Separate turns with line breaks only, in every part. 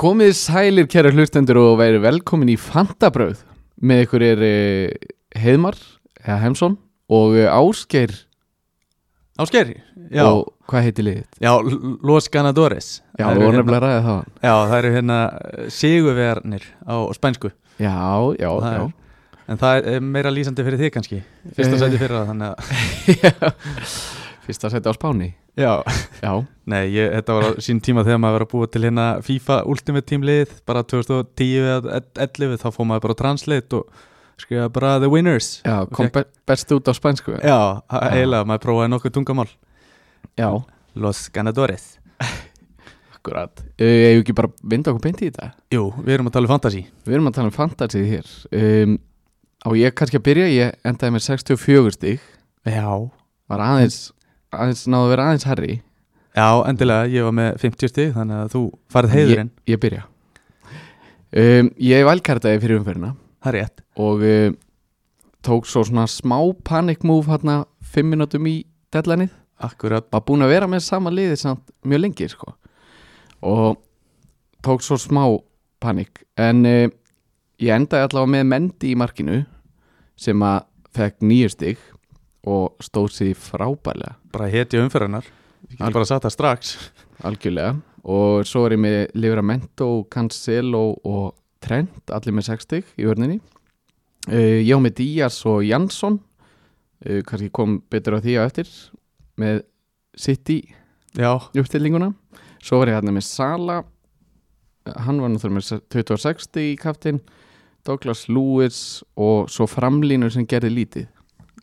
Komið þið sælir kæra hlustendur og væri velkomin í Fantabröð með ykkur er uh, Heiðmar, eða Hemsson og uh, Ásgeir
Ásgeir, já,
og hvað heiti liðið?
já, L- Los Ganadores
Já,
Það
við
eru
vorum
hérna,
nefnilega að ræða það
já, það eru hérna sigurverðnir á spænsku
Já, já,
Það
já
er- En það er eh, meira lýsandi fyrir þig kannski Fyrsta
Eh.
sæti fyrir það, þannig að
Fyrsta seti á Spáni
Já,
Já,
nei, ég, þetta var á sín tíma þegar maður var að búa til hérna FIFA Ultimate Team lið Bara 2010 eða 11 þá fór maður bara á Translate og skrifa bara The Winners
já
Og
kom
fékk-
be best út á spænsku
Já, eiginlega, maður prófaði nokkuð tungumál
já
Los Ganadores
akkurat uh, Ef við ekki bara vinda okkur beint í þetta
Jú, við erum að tala um fantasy
Við erum að tala um fantasið hér um, Á ég kannski að byrja, ég endaði með 64 stig
Já
Var aðeins, aðeins náðu að vera aðeins herri
Já, endilega, ég var með 50 stig þannig að þú farið heiðurinn,
Ég byrja um, Ég valkartaði fyrir umferðina
það er rétt
og um, tók svo svona smá panic move hérna fimm minútum í deadlineið
Akkurat,
var búin að vera með sama liði samt mjög lengi sko. og tók svo smá panik en um, ég endaði allavega með Mendy í markinu sem að fekk nýju stig og stóð sér frábælega
bara heti umferðarnar Ég
Al-
get bara sagt það strax
algjörlega og svo er ég með Livramento, Cancelo og Trent, allir með 6 stig í vörninni uh, ég á með Díaz og Jansson uh, kannski kom betur á því á eftir með City
Já,
uppstillinguna svo var ég hérna með Sala hann var náttúrulega með 26 stig í kaftin Douglas Lewis og svo framlínur sem gerði lítið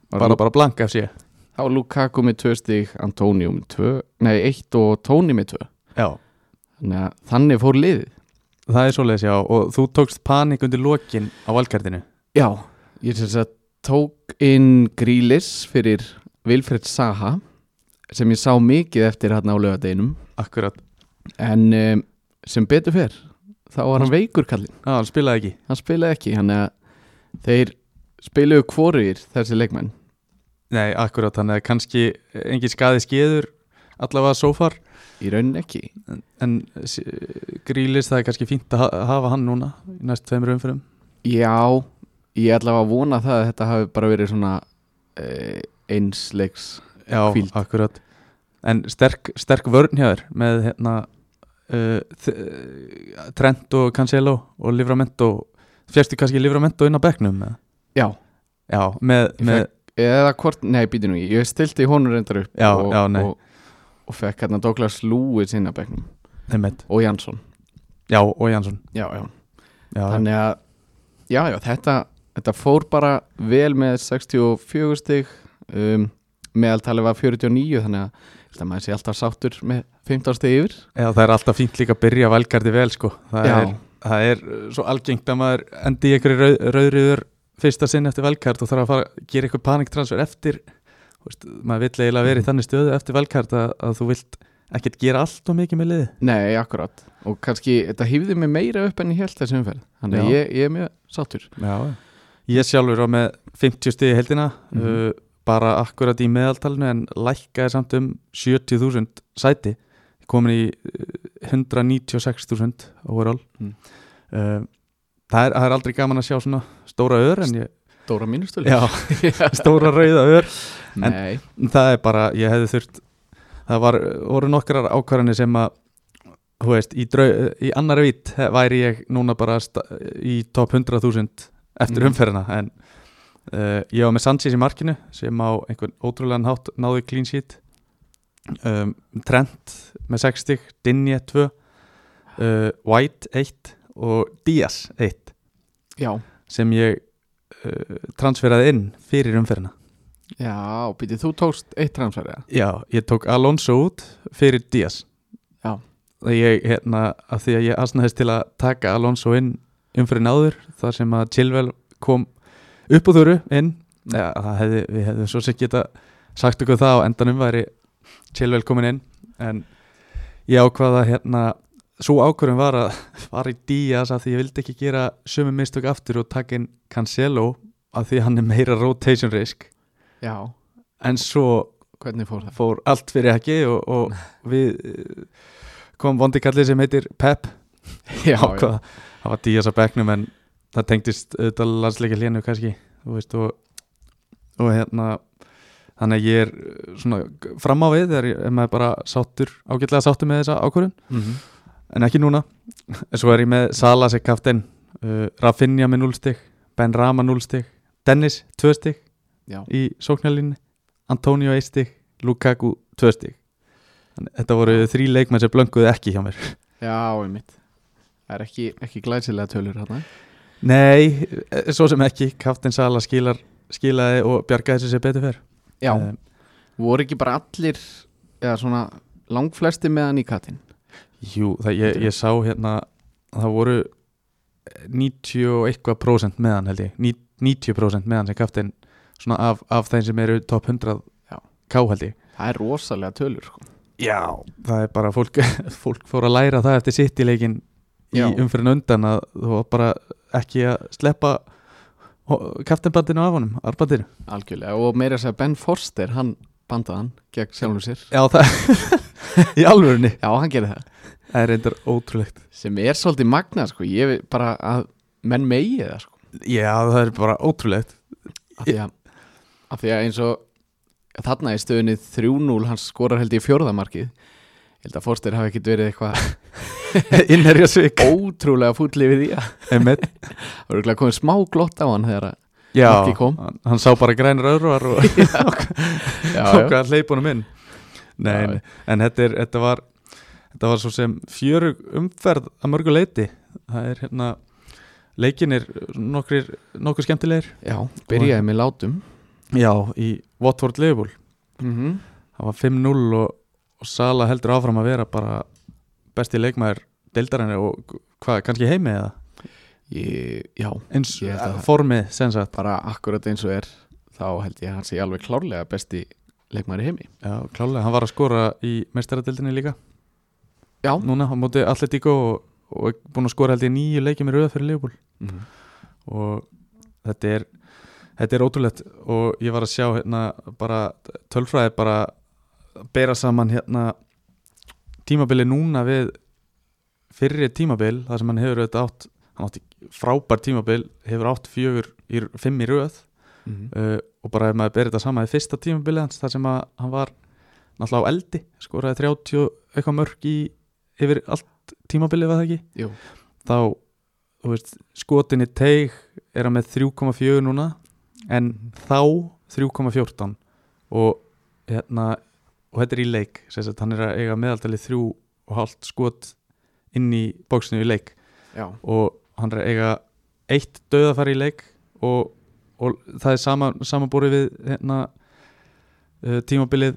Var
bara, bara blank af sér
Þá Lukaku með 2 stig, Antonio með 2 nei 1 og Tony með 2
Já,
Þannig að þannig fór liðið.
það er svoleiðis já og þú tókst panik undir lokin á valkartinu
Já. Ég sem sagt tók inn Grílis fyrir Vilfred Saha sem ég sá mikið eftir hérna á lögadeinum
Akkurat,
en um, sem betur fer þá var hann veikur kallinn.
já, hann spilaði ekki
Hann spilaði ekki hann að þeir spiluðu kvorugir þessi leikmenn.
Nei, akkurat, þannig að kannski engin skaði skeður allavega so far
Í raunin ekki.
en, en s- Grílis, það er kannski fínt að ha- hafa hann núna í næst tveimur umferðum
Já, ég ætlaði að vona það að þetta hafi bara verið svona uh, einsleiks
Já,
Hvíld.
akkurat En sterk, sterk vörn hjá þér með hérna uh, þ- uh, Trent og Cancelo og Livramento Fjerstu kannski Livramento inn á bekknum? eða?
Já,
Já, með,
Ég
með
eða hvort, nei býti nú í, ég stilti honum reyndar upp
Já,
og,
já, nei.
og, og fekk hérna Douglas Lewis inn að bekknum
einmitt,
og Jansson
Já, og Jansson
já, já.
Já,
þannig að já, já, þetta, þetta fór bara vel með 64 stig um, meðaltali var 49 þannig að þetta maður sé alltaf sáttur með 15 stig yfir
já, það er alltaf fínt líka að byrja valgardi vel sko Það,
Já.
er, það er uh, svo algengt að maður endi í einhverju rauð, rauðriður fyrsta sinn eftir valgard og þarf að fara að gera eitthvað paniktransfer eftir Þú veist, maður vill eiginlega verið í þannig stöðu eftir valgard að, að þú vilt ekkert gera allt og mikið með liði
nei, akkurat og kannski þetta hýfði mig meira upp en ég held þessum umferð þannig að
Já.
ég, ég er mjög sáttur
Já, ég sjálfur á með 50 stigi heldina
Mhm.
uh, bara akkurat í meðaltalinu en lækkaði samt um 70.000 sæti komin í uh, 196.000 overall
Mm.
uh, það, er, það er aldrei gaman að sjá svona stóra ör en ég,
Dóra mínustuleg
já, stóra rauða ör en-
nei,
það er bara, ég hefði þurft það var, voru nokkrar ákvarðanir sem að þú veist, í, drau, í annar vít væri ég núna bara sta, í top 100.000 eftir
Mhm.
umferðina en uh, ég var með Sanchez í markinu sem á einhvern ótrúlegan hátt náði clean sheet um, Trent með 60 Dinje 2 uh, eh, White 1 og Diaz 1
já,
sem ég uh, transferaði inn fyrir umferðina
já, býtið þú tókst eitt transfer eða?
Já, ég tók Alonso út fyrir Díaz
Já.
Það ég, hérna, að því að ég asnaðist til að taka Alonso inn umfyrir náður þar sem að Chilwell kom upp úr þurru inn ja, það hefði, við hefðum svo sem geta sagt okkur það á endanum væri Chilwell komin inn en ég ákvaða hérna svo ákvörðum var að fara í Díaz að því ég vildi ekki gera sömu mistök aftur og taka inn Cancelo að því hann er meira rotation risk
já,
en svo
hvernig fór það?
fór allt fyrir ekki og, og við eh, kom vondi kallið sem heitir Pep
já, já,
ákvað það var Díaz á bekknum en það tengdist auðvitað landsleika hlénu kannski þú veist, og, og hérna þannig að ég er uh, svona fram á við þegar ég, ef maður er bara sáttur ágætlega sáttur með þessa ákvörðun
Mhm.
en ekki núna en svo er ég með Salas ekki kaftin uh, Rafinha með 0 stig Ben Rama 0 stig Dennis 2 stig
já.
í sóknarlinni Antonio 1 stig Lukaku 2 stig Þannig, þetta voru þrý leikmenn sem blönguðu ekki hjá mér
já einmitt það er ekki, ekki glæsilega tölur hérna
Nei, eh, svo sem ekki Kaftin Sala skilar, skilaði og bjargaði þessu sem betur fer
já,
Eh,
voru ekki bara allir eða svona langflesti með hann í kattin
Jú, það, ég, ég sá hérna það voru 90 og eitthvað prósent með hann held ég Ní- 90 prósent með hann sem kaftin svona af, af þeim sem eru top 100
Já.
ká held ég
það er rosalega tölur sko.
Já, það er bara fólk, fólk fór að læra það eftir sitt í leikin í
Já.
umfyrin undan að þú var bara ekki að sleppa kaftinbandinu af honum, arbandinu
algjörlega og meira að segja Ben Forster hann bandaði hann gegn sjálfum sér
Já, það í alvörunni
já, hann gerði það
Það er reyndar ótrúlegt
sem er svolítið magnað sko. ég vil bara að menn megi það sko.
Já, það er bara ótrúlegt
af, því að, af því að eins og þarna í stöðunni 3-0 hann skorar held ég fjórðamarkið ég held að Forster hafi ekkit verið eitthvað
Innherja svik
ótrúlega fúlli við því að
Einmitt.
það voru komið smá glott á hann þegar að
Já,
Markið kom.
hann, hann sá bara grænir öðruvar og
já,
hvað hleyp honum inn Nei,
Já,
nei. en þetta, er, þetta var þetta var svo sem fjörug umferð að mörgu leiti það er hérna leikinir nokkrir, nokkur skemmtilegir
já, byrjaði með látum
Já, í Watford Liverpool
mm
það var 5-0 og, og Sala heldur áfram að vera bara besti leikmaður deildarinni og hvað, kannski heimi eða
ég, já,
eins
Ég held að-
formið sem sagt
bara akkurat eins og er þá held ég að hann sé alveg klárlega besti leikmæri heimi
Já, klálega, hann var að skora í meistaradeildinni líka
Já.
Núna, hann móti Atletico og, og er búin að skora held ég nýju leikjum í rauða fyrir Leopold
mm.
og þetta er þetta er ótrúlegt og ég var að sjá hérna bara tölfræði bara bera saman hérna tímabili núna við fyrri tímabil, þar sem hann hefur auðvitað átt, hann átti frábær tímabil hefur átt fjögur, í, fimm í rauð
Mm.
uh, og bara ef maður berið þetta sama í fyrsta tímabilið hans þar sem að hann var náttúrulega á eldi, skoraði 30 og eitthvað mörg í yfir allt tímabilið var það ekki,
Jú,
þá þú veist, skotin í teig er hann með 3,4 núna en þá 3,14 og hérna og þetta er í leik, sem sagt hann er að eiga meðaldalið 3,5 skot inn í bóksinu í leik
já,
og hann er að eiga eitt döðafæri í leik og, og það er sama, samanbúrið við hérna, uh, tímabilið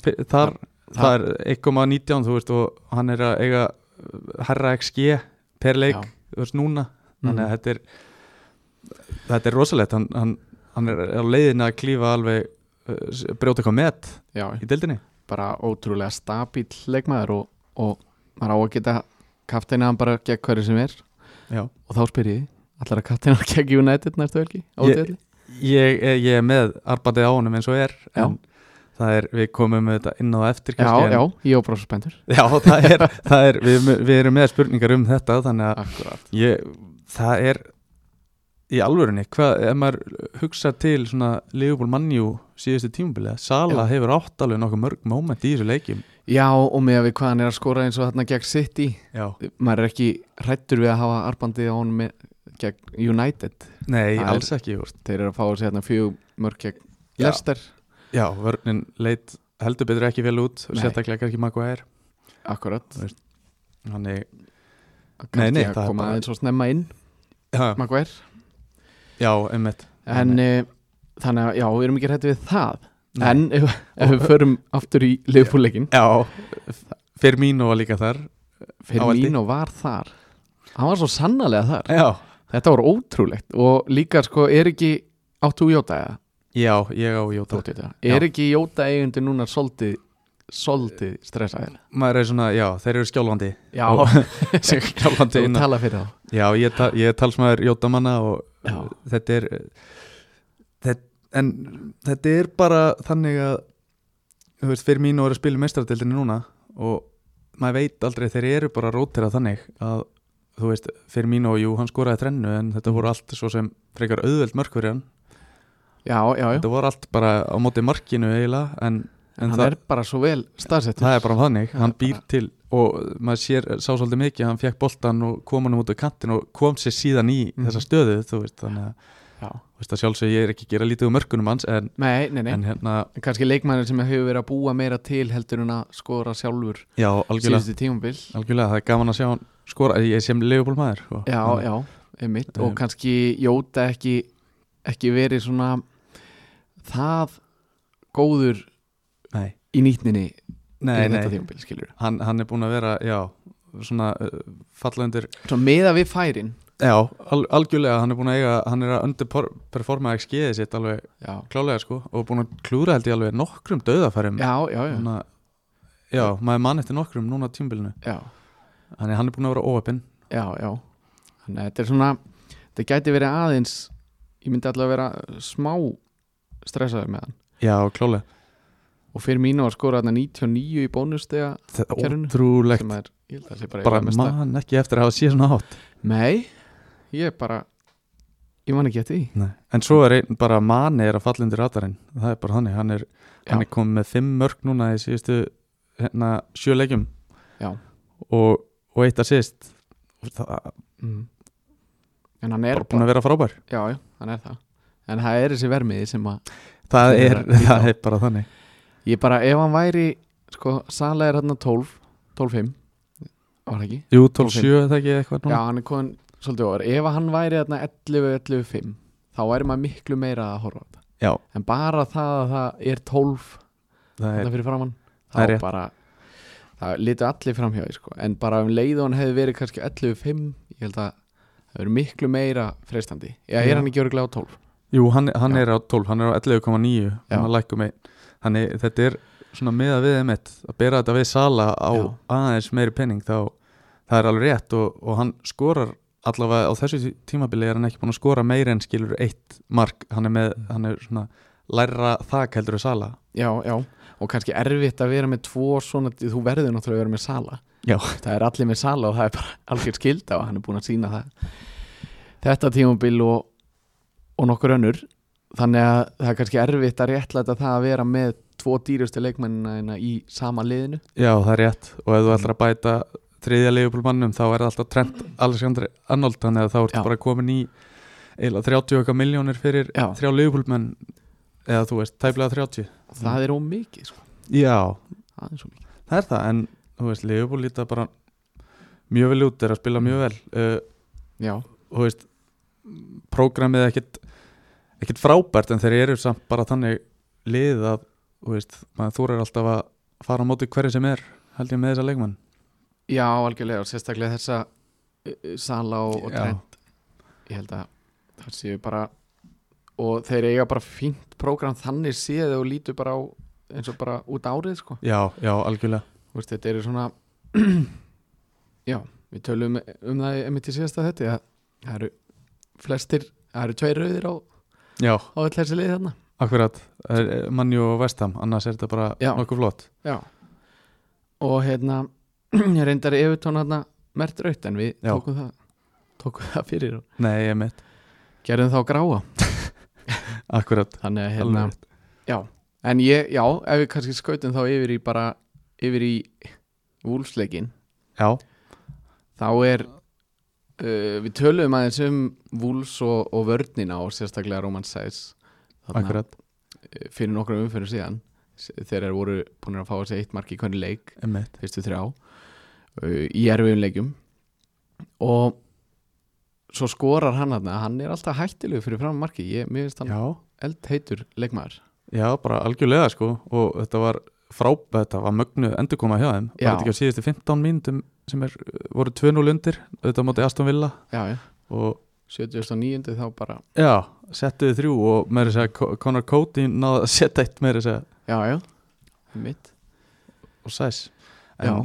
fi- þar, það er 1,19 þú veist og hann er að eiga uh, herra XG per leik
já.
þú veist núna þannig að
Mhm.
þetta er þetta er rosalegt hann, hann, hann er á leiðin að klífa alveg uh, s- brjóta eitthvað met
já,
í deildinni
bara ótrúlega stabíl leikmaður og, og maður á að geta kapteina hann bara gegn hverju sem er
Já.
og þá spyr ég, allar að kapteina hann gegn United næstu helgi? Ég,
ég, eh, ég, ég er með arbandið á honum eins og er
Já.
en það er, við komum með þetta inn á eftir
já,
kannski, en-
já, ég var bara svo spenntur
Já, það er, það er við, við erum með spurningar um þetta þannig að
Akkurat
ég, það er í alvörunni, hvað, ef maður hugsa til svona Leopold Mannjú síðustu tímabilið, Sala hefur átt alveg nokkuð mörg moment í þessu leikjum
Já, og með að við hvað hann er að skora eins og þarna gegn City
Já.
maður er ekki hrættur við að hafa arbandið á hann með, gegn United
Nei,
Það er-
alls ekki úr.
þeir eru að fá sér hérna fjög mörg gegn
Já.
Lester
Já, vörnin leit heldur betur ekki vel út
Nei.
sérstaklega kannski Maguire
Akkurat
Þannig,
Kannski
nei,
að
það er
koma
bara-
aðeins og snemma inn
já,
Maguire
já, einmitt
En uh, þannig að já, við erum ekki hrætti við það En ef, ef við förum aftur í liðbúleikin
Já, Firmino var líka þar
Firmino var þar Hann var svo sannarlega þar
Já,
Þetta var ótrúlegt og líka sko er ekki áttu Jóta eða
já, ég á Jóta
Þú átt Jóta. Er ekki Jóta eigundi núna svolítið svolítið stressaðir
maður er svona, já, þeir eru skjálfandi
Já,
Ó,
þú
skjálfandi innan
tala fyrir þá
já, ég, ta ég er talsmaður jótamanna og
Já.
þetta er þetta, en þetta er bara þannig að þú veist, fyrir mínu eru að spila meistaradeildinni núna og maður veit aldrei, þeir eru bara rótir að þannig að þú veist, fyrir mín og jú, hann skoraði þrennu en þetta voru allt svo sem frekar auðveld mörk fyrir hann
já, já, já
þetta voru allt bara á móti markinu eiginlega en, en
hann
það,
er bara svo vel staðsettur
það er bara þannig,
Það
hann
er
býr
bara-
til og maður sér, sá svolítið mikið hann fekk boltan og kom hann út á kantin og kom sér síðan í
Mhm.
þessa stöðu þú veist, þannig að,
Já.
þú veist, að sjálfsög ég er ekki að gera lítið um mörkunum hans en,
Nei, nei, nei,
en hérna,
en kannski leikmæður sem hefur verið að búa meira til heldur en að skora sjálfur
já, algjörlega
síðustu tímumbil
algjörlega, það er gaman að sjá hann skora ég er sem sko. leifból maður og,
Já,
og,
já, einmitt
Nei.
og kannski Jóta ekki, ekki verið svona það góður
Nei,
í nýtninni
nei,
í þetta
nei.
tímumbil, skilur
Hann, hann er búin að vera, já svona uh, falla undir
Svo meða við færin
Já, al algjörlega, hann er búin að eiga hann er að underperforma XG-ið sitt alveg
Já,
klálega sko og búin að klúra held ég alveg nokkrum döðafærum
já, já, já,
Þannig að, já, maður mann eftir nokkrum núna á tímbilinu
já,
Þannig að hann er búin að vera óöpinn
já, já. Þannig að þetta er svona þetta gæti verið aðeins ég myndi allavega vera smá stressaður með hann
Já, klálega
og fyrir mínu að skora þarna 99 í bónustega
Það er
Kerfinu.
ótrúlegt
sem er, ég held að það sé bara,
bara
eiginlega mesta-
mann ekki eftir að hafa síðan átt
Nei, ég er bara ég man ekki eftir því
Nei. En svo er einn bara manni er að falla undir radarinn Það er bara þannig, hann er,
Já.
hann er komið með fimm mörg núna í síðustu hérna, sjö leikjum
Já.
og, og eitt að síðust Það er
mm. En hann er
bara búin að vera frábær
Já, já, hann er það En það er þessi vermiði sem að
Það
Sem er
er,
að líta á.
það er bara þannig
Ég bara, ef hann væri Sko, Sala er hann 12 12-5 Var það ekki?
Jú,
12-7,
12-7 það ekki eitthvað
Já,
núna
hann er komin svolítið over Ef hann væri hann 11-11-5 Þá væri maður miklu meira að horfa á þetta
Já.
En bara það að það er 12
það er,
Þetta fyrir framann
Það er
Þá
rétt.
bara Það litu allir framhjá því, sko En bara um leið og hann hefði verið kannski 11-5 Ég held að það verið miklu meira freistandi Já,
Já.
er hann ekki örgulega á 12
Jú, hann, hann
Já.
er á 12, hann er á 11,9
Já.
hann lækum einn Þannig þetta er svona miða við emitt að bera þetta við Sala á
Já.
aðeins meiri penning þá það er alveg rétt og, og hann skorar allavega á þessu tí- tímabili er hann ekki búin að skora meira en skilur eitt mark hann er með, hann er svona læra þak heldur við Sala
Já, já, og kannski erfitt að vera með tvo svona, þú verður náttúrulega að vera með sala
Já.
Það er allir með sala og það er bara algjör skilda og hann er búin að sína það Þetta tímabil og, og nokkur önnur Þannig að það er kannski erfitt að réttlæta það að vera með tvo dýrustu leikmennina þína í sama liðinu
Já, það er rétt og ef þú
Mm.
ætlar að bæta þriðja leifupólmannum þá er það alltaf Trent Alexander Arnold þannig að þá ertu
Já.
bara komin í eila 30 okkar miljónir fyrir
Já.
þrjá leifupólmenn eða þú veist, tæplega 30
Það er ómikið, sko,
Já,
það er svo mikið
það er það en þú veist, leifupól líta bara mjög vel út, er að spila
Mm.
mjög vel uh,
Já,
þú veist prógramið er ekkit ekkit frábært en þeir eru samt bara þannig lið að þú veist, maður þú er alltaf að fara á móti hverju sem er, held ég með þessa leikmann
já, algjörlega og sérstaklega þessa uh, uh, sala og, og
Já.
trend ég held að það séu bara og þeir eiga bara fínt prógram þannig séð og lítu bara á eins og bara út árið sko
Já, já, algjörlega
Þú veist, þetta eru svona já, við tölum um það einmitt í síðasta þetta að það eru flestir, það eru tveir rauðir á,
Já,
á öll þessi lið þarna
akkurat, mannjú og vestam annars er þetta bara
Já.
nokkuð flott
já og hérna, ég reyndar yfirtón hérna mert raut en við
Já.
tókum það tókum það fyrir og
Nei, ég mitt,
gerðum þá gráa
akkurat
þannig að
alveg
hérna
rétt.
En ég, já, ef við kannski skautum þá yfir í bara, yfir í vúlsleikin,
Já,
þá er uh, við töluðum aðeins um vúls og, og vörnina og sérstaklega Roman Sæs þarna,
akkurat,
eh, fyrir nokkrum umfyrir síðan s- þegar þeir voru búin að fá þessi eitt mark í hvernig leik,
ég mitt
fyrstu þrjá uh, í erfiðum leikum og svo skorar hann hann, hann er alltaf hættilegu fyrir fram marki, ég, mér finnst hann
Já,
eldheitur leikmaður
já, bara algjörlega sko og þetta var frábæð, þetta var mögnu endurkoma hjá þeim,
Já.
var þetta ekki á síðustu 15 mínútum sem er, voru 2-0 undir þetta móti Aston Villa
já, já,
og
79. þá bara
já, settuðu þrjú og meira að segja Co- Connor Cody náði að setja eitt meira að segja
Já, já, mitt
og sæs
Já,
en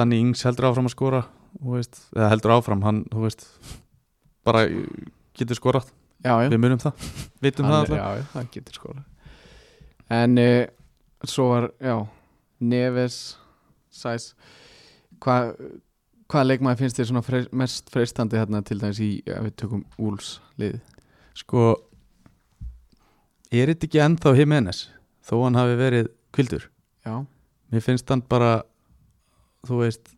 Danny Ings heldur áfram að skora þú veist, eða heldur áfram, hann þú veist, bara getur skorað,
já, já
við munum það vitum það
Hann-
alltaf
Já, já, hann getur skóla En uh, svo var, já Neves Sæs Hvað, Hvaða leikmaði finnst þér svona frey, mest freistandi hérna til dæmis í, ef við tökum Úls lið?
Sko Er þetta ekki ennþá Jimenez þó hann hafi verið kvildur
Já,
Mér finnst hann bara þú veist,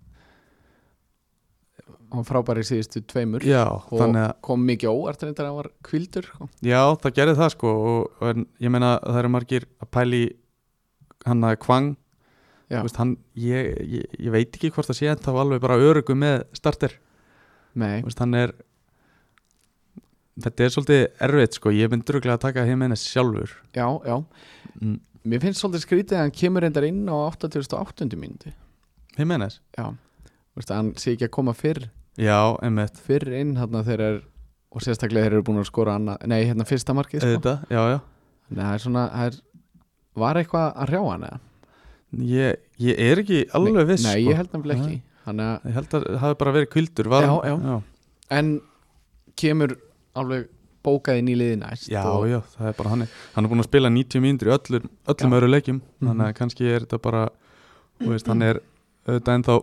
hann var frábær í síðustu tveimur
já,
og
þannig að
kom mikið óvart reyndar að hann var kvildur sko.
Já, það gerði það sko og, og en, ég meina það eru margir að pæli hann að kvang
Já.
Þú veist, hann, ég, ég, ég veit ekki hvort það sé en það var alveg bara örugu með starter
Nei,
Þú veist, hann er þetta er svolítið erfitt sko ég mynd druglega að taka heim henni sjálfur
já, já
Mm.
Mér finnst svolítið skrítið að hann kemur reyndar inn á 88. mínúti
heim henni
Já, Þú veist, hann sé ekki að koma fyrr
já, einmitt
fyrr inn hérna þeir er og sérstaklega þeir eru búin að skora annað, nei, hérna fyrsta markið sko.
Þetta, já, já.
Nei, það er svona, það er var eitthvað að hrjá hann eða?
Ég, ég er ekki alveg
Nei,
viss
Nei,
sko.
ég held nefnilega ekki Þannig að
ég held að það hafi bara verið kvildur var,
Já, já.
já.
en kemur alveg bókað inn í liði næst
Já,
og,
já, það er bara hann Hann er búin að spila 90 mínútur í öllum, öllum
Já.
öru leikjum
Mhm.
Þannig að kannski er þetta bara þú veist, Hann er auðvitað ennþá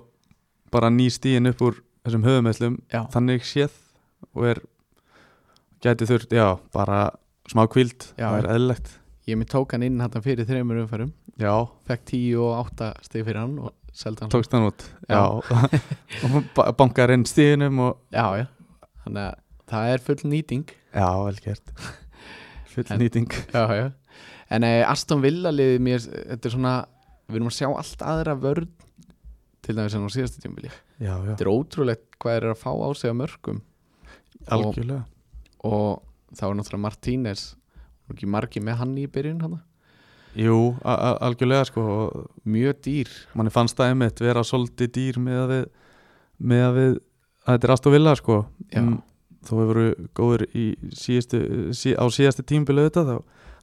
bara ný stíin upp úr þessum höfumellum
já.
Þannig séð og er gæti þurft, já, bara smá kvíld,
Já,
það er eðlilegt
ég mér tók hann inn hérna fyrir þreymur umferðum
Já,
fekk 10 og 8 stig fyrir hann og seldi hann
tókst hann út
Já.
Já, og ba- bankar inn stíðinum og
já, já. þannig að það er full nýting
Já, vel gert Full
En-
nýting
já, já. en eh, Aston Villa liði mér þetta er svona, við erum að sjá allt aðra vörn til dæmis en á síðasta tímabili
Já, já,
þetta er ótrúlegt hvað þeir eru að fá á sig á mörgum
algjörlega
og þá er náttúrulega Martínez og ekki margi með hann í byrjun hana.
Jú, a- a- algjörlega sko og
mjög dýr
manni fannst það einmitt vera svolítið dýr með að við, með að við að þetta er aðstof vilja sko
Já.
þó hefur verið góður í síðustu, sí, á síðasta tímbilu þetta þá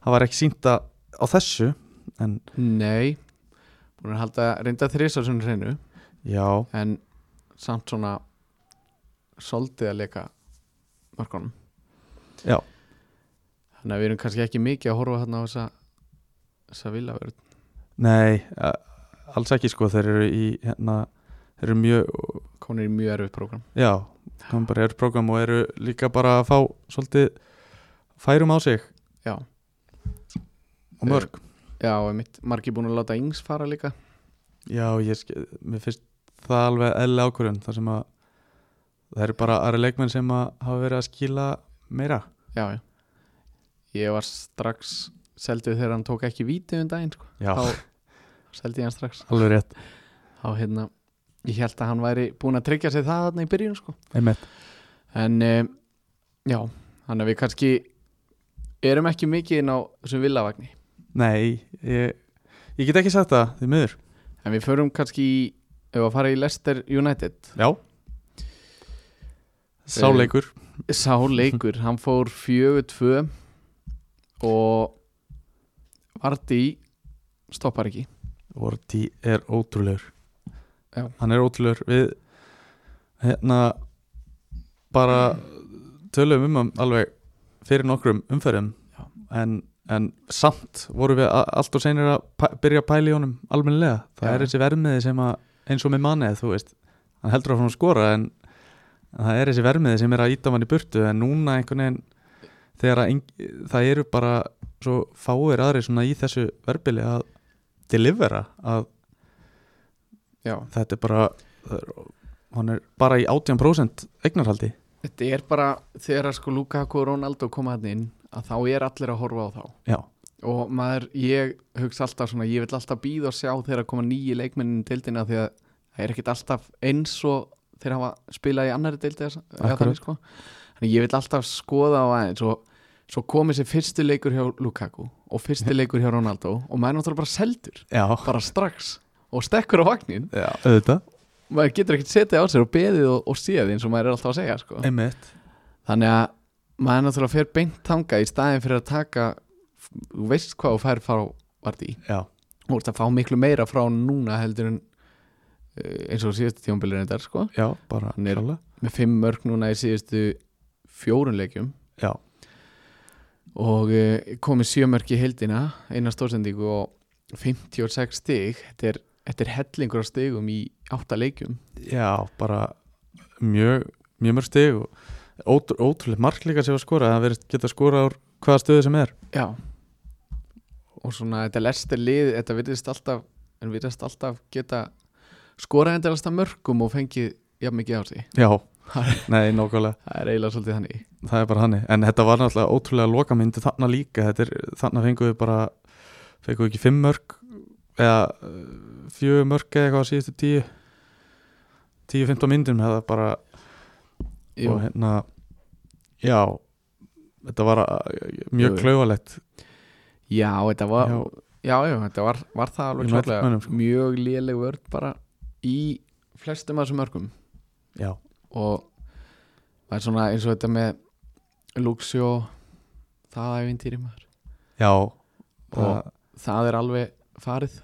það var ekki sínt að á þessu en
nei, búin að halda reynda þrisa sem hreinu
já,
en samt svona soldið að leika mörgunum
Já.
þannig að við erum kannski ekki mikið að horfa þarna á þessa þessa villavörð
nei a- alls ekki sko þeir eru í hérna, þeir eru mjög
komin í mjög erfið prógram
já, komum bara í eru program og eru líka bara að fá svolítið færum á sig
Já.
og mörg
já, og mitt, margir búin að láta yngs fara líka
Já, ég skil, mér finnst það alveg eðli ákvörðun þar sem að það eru bara aðra leikmenn sem að hafa verið að skila meira
já, já ég var strax seldið þegar hann tók ekki vítið um daginn sko.
Já,
þá seldi ég hann strax
alveg rétt
þá hérna, ég held að hann væri búin að tryggja sig það þarna í byrjun sko.
Einmitt.
en um, já, þannig að við kannski erum ekki mikið inn á þessum villavagni
Nei, ég, ég get ekki sagt það, þið miður
en við förum kannski í ef að fara í Leicester United
Já Sáleikur
sá leikur, hann fór 4-2 og Vardí stoppar ekki
Vorti er ótrúlegur
Já.
Hann er ótrúlegur Við hérna bara tölum um hann alveg fyrir nokkrum umferðum
Já.
en, en samt vorum við a- allt og senir að pæ- byrja að pæla í honum almennilega það
Já.
er þessi vermiði sem að eins og með mannið þú veist hann heldur áfram að skora en, en það er þessi vermiði sem er að íta mann í burtu en núna einhvern veginn þegar að eng, það eru bara svo fáir aðri svona í þessu verbili að delivera að
já,
þetta er bara það er, hann er bara í 18% eignarhaldi
þetta er bara þegar að sko Lukaku og Ronaldo koma hann inn að þá er allir að horfa á þá
já,
og maður, ég hugsa alltaf svona ég vill alltaf býða og sjá þegar að koma nýji leikmennin í deildina því að það er ekkert alltaf eins og þeir hafa spilað í annari deildi þessa- eða
Akkurat.
þannig, sko. þannig ég vill alltaf skoða á aðeins og svo komið sér fyrsti leikur hjá Lukaku og fyrsti leikur hjá Ronaldo og maður er náttúrulega bara seldur
já,
bara strax og stekkur á vagnin
já. auðvitað
maður getur ekkert setið á sér og beðið og, og séð eins og maður er alltaf að segja sko.
einmitt,
þannig að maður náttúrulega fer beint þangað í staðin fyrir að taka þú veist hvað þú fær fara vart í
já,
þú veist að fá miklu meira frá honum núna heldur en eh, eins og síðustu tjónbylurinn þetta sko
já, bara
Hann er-
klálega.
með fimm mörg núna í síðustu fjórun leikjum
já,
og eh, komið sjö mörg í heildina eina stórsendingu og 56 stig þetta er Þetta er hellingur á stegum í átta leikjum
Já, bara mjög, mjög mörg stig og ótrú, ótrúlega mark líka sem var skorað, það verið geta skorað úr hvaða stöðu sem er
Já Og svona þetta lestir lið Þetta virðist alltaf En virðist alltaf geta Skorað endalast að mörgum og fengið Jafn mikið á sig
Já, nei, nákvæmlega
Það er eiginlega svolítið þannig
það er bara hannig, en þetta var náttúrulega ótrúlega lokamyndi þarna líka, þetta er, þarna fengum við bara, fengum við ekki fimm mörg eða eh, fjögur mörg eða eitthvað á síðustu tíu 10-15 myndum hefða bara
Jú,
og hérna já, þetta var eh, mjög
Jú, jú.
klauvalegt
Já, þetta var Já,
Já.
já, þetta var, var það
Í
alveg
mörgum
klárlega
mönnum, sko.
Mjög léleg vörð bara Í flestum af þessum mörgum
já,
og það er svona eins og þetta með Luxio það æfintýri maður
já
Og- það er alveg farið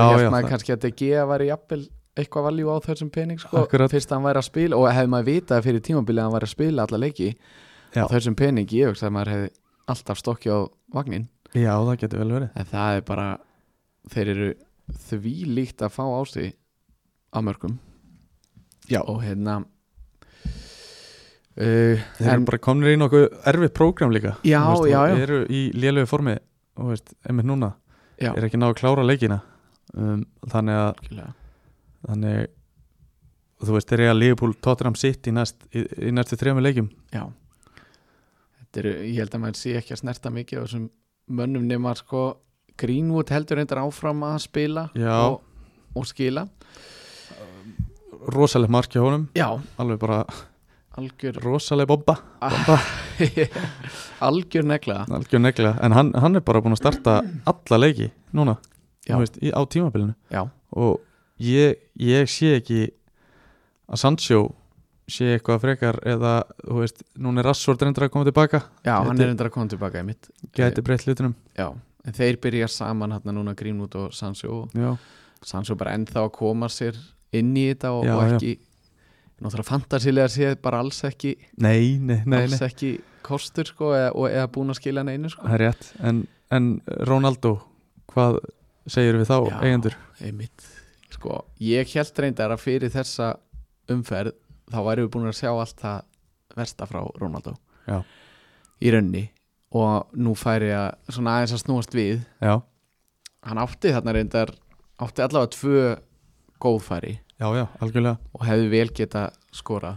svo
já,
held
það-
maður kannski að DG væri jafnvel eitthvað valjú á þessum pening sko,
Akkurat.
fyrst hann væri að spila og hefði maður vitað fyrir tímabilið að hann væri að spila alla leiki
Já.
á þessum pening ég hugsa að maður hefði alltaf stokki á vagnin
já, það getur vel verið
en það er bara þeir eru því líkt að fá á sig á mörgum
Já.
og hérna uh,
þeir
En-
eru bara komnir í nokkuð erfið prógram líka
Já,
þú
já,
og
já.
eru í lélögu formi og veist, einmitt núna
Já.
er ekki ná að klára leikina um, þannig að
algjörlega.
þannig, þú veist, þeir eru að Liverpool Tottenham City næst, í, í næstu þrejum leikjum
Já Þetta eru, ég held að maður sé ekki að snerta mikið á þessum mönnum nema sko Greenwood heldur reyndar áfram að spila
Já.
og, og skila
rosaleg mark hjá honum,
Já,
alveg bara
algjör
rosaleg bomba,
Ah.
bomba.
algjör negla
algjör negla, en hann, hann er bara búin að starta alla leiki núna
Já.
þú veist, í, á tímabilinu
Já,
og ég, ég sé ekki að Sancho sé eitthvað frekar eða, þú veist, núna er Rassvort reyndur að koma tilbaka,
já hann
Þetta-
er reyndar að koma tilbaka í mitt
gæti breytt hlutunum
Já, en þeir byrja saman hérna núna Greenwood og Sancho og
já,
Sancho bara ennþá að koma sér inn í þetta og,
Já,
og
já.
ekki náttúrulega fantasilega séð bara alls ekki
nei, nei, nei,
alls
nei.
ekki kostur sko eða, og, eða búin að skila neinu sko
það er rétt, en, en Ronaldo hvað segir við þá,
Já.
eigendur
Einmitt. Sko, ég held reyndar að fyrir þessa umferð þá væri við búin að sjá allt það versta frá Ronaldo
Já.
í raunni og nú færi að svona aðeins að snúast við
já,
hann átti þarna reyndar átti allavega tvö góðfæri
já, já, algjörlega
og hefði vel geta skora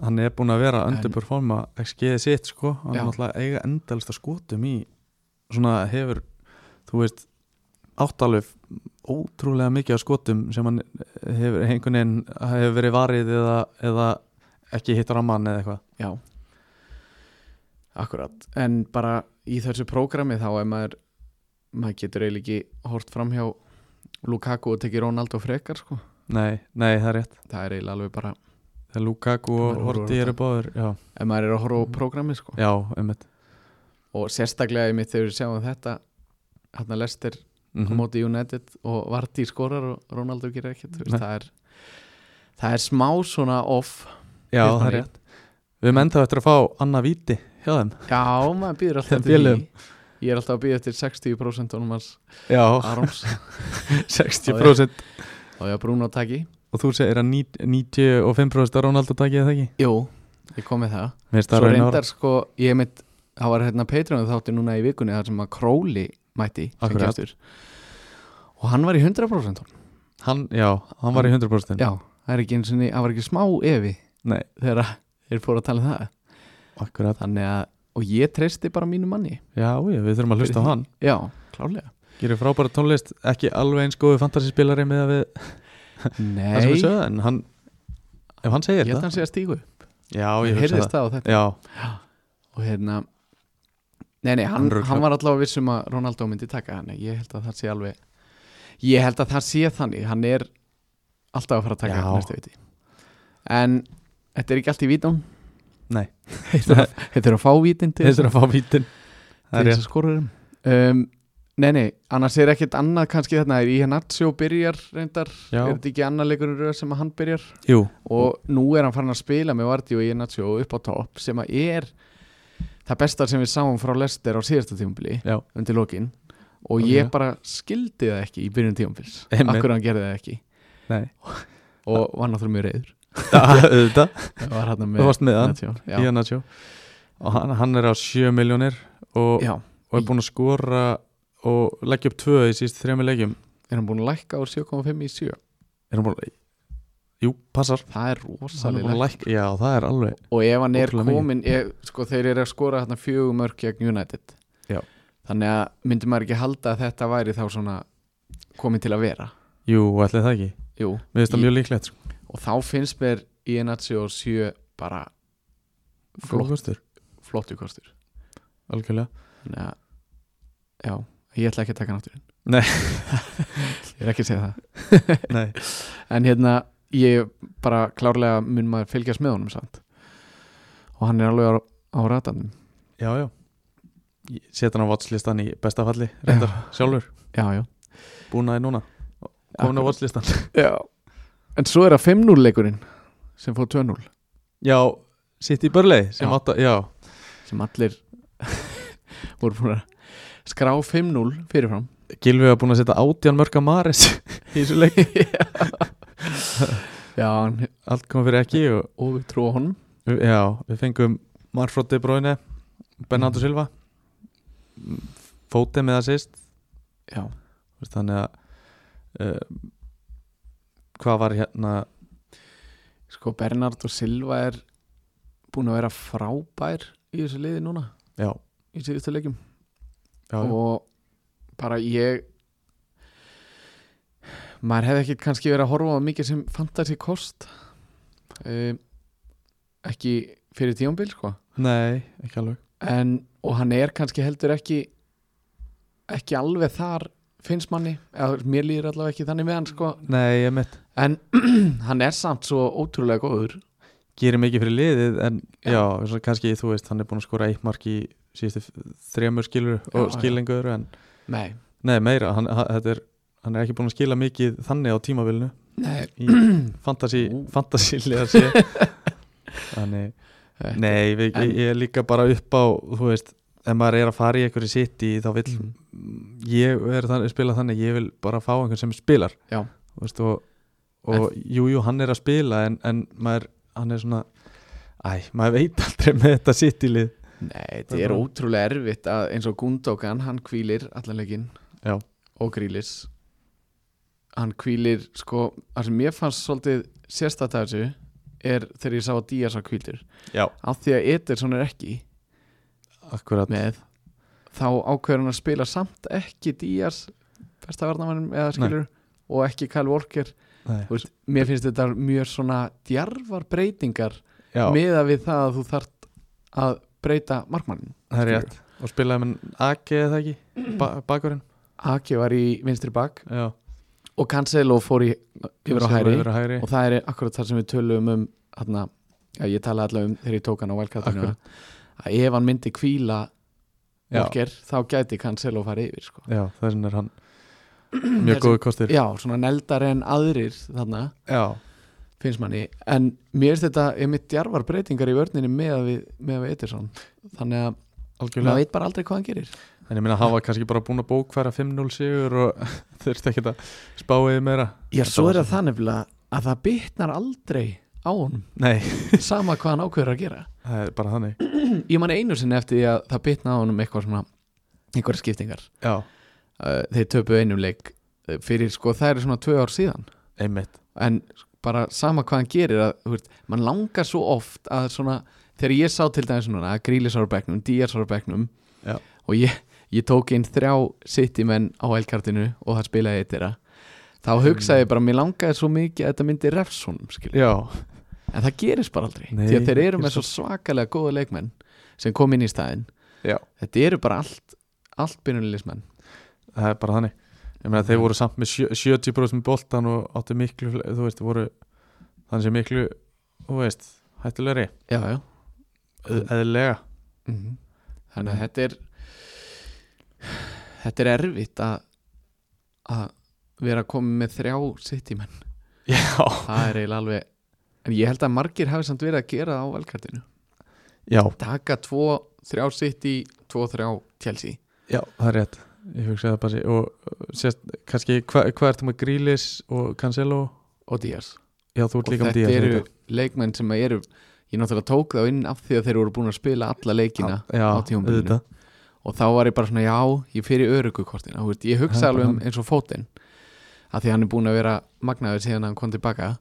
hann er búin að vera að
En-
underperforma XG sitt, sko, hann
Já.
er náttúrulega að eiga endalista skotum í svona hefur, þú veist áttalöf ótrúlega mikið af skotum sem hann hefur einhvern veginn hefur verið varið eða, eða ekki hittur á mann eða eitthvað
Já Akkurat, en bara í þessu prógrami þá er maður maður getur eiginlega ekki hort fram hjá Lukaku og tekið Ronaldo frekar sko.
nei, nei, það er rétt,
það er eiginlega alveg bara
þegar Lukaku
Það
og
er
Horti eru báður já,
ef maður er að horfa á
Mhm.
prógrami sko.
já, einmitt
og sérstaklega í mitt þegar við sjáum þetta hann að lestir á
Mhm.
móti United og Vardí skorar og Ronaldo gerir ekkert þú veist,
Nei.
það, er, það er smá svona off
já,
finnst
það
manni.
er rétt við erum ennþá eftir að fá annað víti hjá þeim
já, maður býður alltaf eftir
Þeim
því
félögum.
ég er alltaf að býða eftir 60% honum hans
já,
Arons
60%
og ég að brúna á taki
og þú segir að ní- 95% að Ronaldo takið það ekki
jú, ég kom með það
Mér finnst það
svo
raunar-
reyndar sko, ég mitt það var hérna Patreon þátti núna í vikunni þar sem að Króli mætti sem
Akkurat.
gestur. og hann var í 100% honum.
Hann, já, hann var í 100%
já, það er ekki eins og það var ekki smá efi
Nei,
þegar að þeir fóru að tala um það
akkurat
þannig að, og ég treysti bara mínu manni
Já, já, við þurfum að hlusta á hann
já, klálega
Gerir frábæra tónlist, ekki alveg eins góðu fantasyspilari með að við það sem
nei,
við sögðu En hann, ef hann segir
ég held að
það
hann sé að stígu ég
Já, ég hugsa
heyrðist
það
það á þetta
Já,
og hérna, nei nei, hann,
Hann ruglar.
hann var allavega viss um að Ronaldo myndi taka hann ég held að það sé alveg ég held að það sé þannig, hann er alltaf að fara að taka
Já.
hann næstu viti en þetta er ekki allt í vítum
nei,
þetta er að fá vítin til
þetta er að fá vítin Það er
til
rétt,
þess að skora þeim um, Nei, nei, annars er ekkert annað kannski þarna í Hennatsjó byrjar reyndar
já,
er þetta ekki annar leikurinn röð sem að hann byrjar
jú,
og nú er hann farin að spila með Vardí og Hennatsjó upp á topp sem að er það besta sem við sáum frá Lester á síðasta tímubli
Já.
undir lokin og
Ok.
ég bara skildi það ekki í byrjun tímanfils
Einmitt.
akkur hann gerði það ekki
Nei,
og var náttúrulega mjög reyður
auðvitað
var hann
Þú
með
varst hérna. með hann,
Nacho, já.
Ian Nacho og hann, hann er á 7 miljónir og,
já,
og er búin að skora og leggja upp tvö í síst þrejum leikjum
er hann búin að lækka úr 7,5 í 7
er hann búin að Jú, passar
það er
Hann er búin
rosalega
að lækka, já það er alveg
og ef hann er
Ótrúlega mikið.
komin ég, sko, þeir eru að skora hérna fjögum mörg gegn United
Já.
þannig að myndi maður ekki halda að þetta væri þá svona komin til að vera
Jú, ætli það ekki,
Jú,
við veist það
Ég-
mjög líklegt sko.
og þá finnst mér í Enatsi og 7 bara flott,
Flókustur,
flottu kostur
algjörlega
þannig að já, ég ætla ekki að taka hann aftur inn.
Nei.
ég er ekki að segja það
Nei,
en hérna, ég bara klárlega mun maður fylgjast með honum samt og hann er alveg á, á ratanum
já, já Ég Set hann á vatslistan í bestafalli reyndar sjálfur,
já, já
búin að núna komin á vatslistan
Já En svo er það 5-0 leikurinn sem fór 2-0
Já, sitt í börlei sem
Já.
átt að, já,
sem allir voru búin að skrá 5-0 fyrirfram
Gilvi var búin að setja átján mörg að Maris í þessu leik
Já, hann
allt kom fyrir ekki og
og við trúa honum
já, við fengum Marfrótti Bróinu, Bernardo Silva Fóti með assist
Já,
Þú veist, þannig að uh, hvað var hérna
sko Bernard og Silva er búin að vera frábær í þessu liði núna
já,
í síðustu leikum
já, já,
og bara ég maður hefði ekki kannski verið að horfa á mikið sem fantasy kost um, ekki fyrir tíumbil sko
nei, ekki alveg
en, og hann er kannski heldur ekki ekki alveg þar finnst manni, eða mér líður allavega ekki þannig með hann sko,
nei, ég mitt,
en hann er samt svo ótrúlega góður
gerir mikið fyrir liðið en já, svo kannski þú veist hann er búin að skora eitt mark í síðustu f- þremur skilur
Já,
og
já.
skilingur en
nei,
nei, meira, hann, hann, þetta er, hann er ekki búin að skila mikið þannig á tímavilinu
nei,
í fantasy,
Ú.
fantasy liða sé þannig Nei, við,
En-
ég, ég er líka bara upp á þú veist, ef maður er að fara í einhverju sitt í þá vill
Mhm.
ég er þannig, spila þannig, ég vil bara fá einhvern sem spilar
Já.
Þú veist, og, og jú, jú, hann er að spila en, en maður, hann er svona æ, maður veit aldrei með þetta sitt í lið
nei
Það
þetta
er
er
bara-
ótrúlega erfitt að eins og Gundogan, hann hvílir allan leikinn
Já.
og grílis hann hvílir sko, það sem mér fannst svolítið sérstætt af þessu er þegar ég sá að Díaz var hvíldur
Já,
af því að Ederson er ekki
akkurat
með þá ákveður hann að spila samt ekki Díaz besta varnamannum eða skilur og ekki Kyle Walker
Nei,
Þú veist, mér finnst þetta mjög svona djarfar breytingar
Já,
meða við það að þú þart að breyta markmannin
það er rétt og spilaði með AK eða ekki, ba bakurinn
Aki var í vinstri bak
Já,
og Cancelo fór í yfir á
Sem
hæri
yfir á hægri.
og það er akkurat þar sem við tölum um hérna, já, ég talaði allavega um þegar ég tók hann á velkattunum
Akkurat.
að ef hann myndi kvíla
Já.
Walker þá gæti Cancelo farið yfir sko.
Já, þessin er hann mjög
Þessi-
góðu kostur
já, svona neldar en aðrir þarna
Já,
finnst manni, en mér finnst þetta er mitt djarfar breytingar í vörninni með að við, með að við Ederson, þannig að
algjörlega
maður veit bara aldrei hvað hann gerir
En ég meina hafa kannski bara búin að bókfæra 5-0 sigur og þurfti ekki að spáiði meira
Já,
Þetta
svo
var
er það það nefnilega að það bitnar aldrei á honum
Nei,
sama hvað hann ákveður að gera
það er bara þannig
ég man einu sinni eftir því að það bitnaði á honum eitthvað svona, einhverja skiptingar
Já,
uh, þeir töpu einum leik uh, fyrir sko, það eru svona tvö ár síðan
einmitt
en bara sama hvað hann gerir að, þú veist, mann langar svo oft að svona, þegar ég sá til dæmis svona að Grílis ára bekknum, Díaz ára bekknum
Já.
og ég, ég tók inn þrjá sittimenn á elkartinu og það spilaði eitt þeirra þá hugsaði ég bara, mér langaði svo mikið að þetta myndi refsunum, skilur,
Já,
en það gerist bara aldrei
Nei,
því að þeir eru
ég
með svo svakalega góða leikmenn sem kom inn í staðinn
Já.
þetta eru bara allt, allt byrjunleismenn
það er bara þannig Ég meina þeir voru samt með sjö- 70% með boltan og áttu miklu, fle- þú veist, voru þannig sem miklu, þú veist, hættulegri
já, já
eð- Eðlilega
-hmm. Þannig að þetta er þetta er erfitt að að vera komið með þrjá sittimenn,
Já,
það er eiginlega alveg en ég held að margir hafi samt verið að gera það á velkartinu,
já,
taka tvo þrjá sitti, tvo þrjá tjelsi
já, það er rétt ég hugsaði það bara sé- og sérst, kannski, hva- hvað ertu með Grílis og Cancelo
og Díaz
já, þú ert
og
líka
þetta
með Díaz
eru leikmenn sem eru ég náttúrulega tók þá inn af því að þeir voru búin að spila alla leikina
já,
á tímabilinu.
auðvitað.
og þá var ég bara svona já, ég fyrir öruggukortin veist, ég
Það
hugsa
er bara
alveg um
hann.
eins og fótinn að því hann er búin að vera magnaður síðan hann kom tilbaka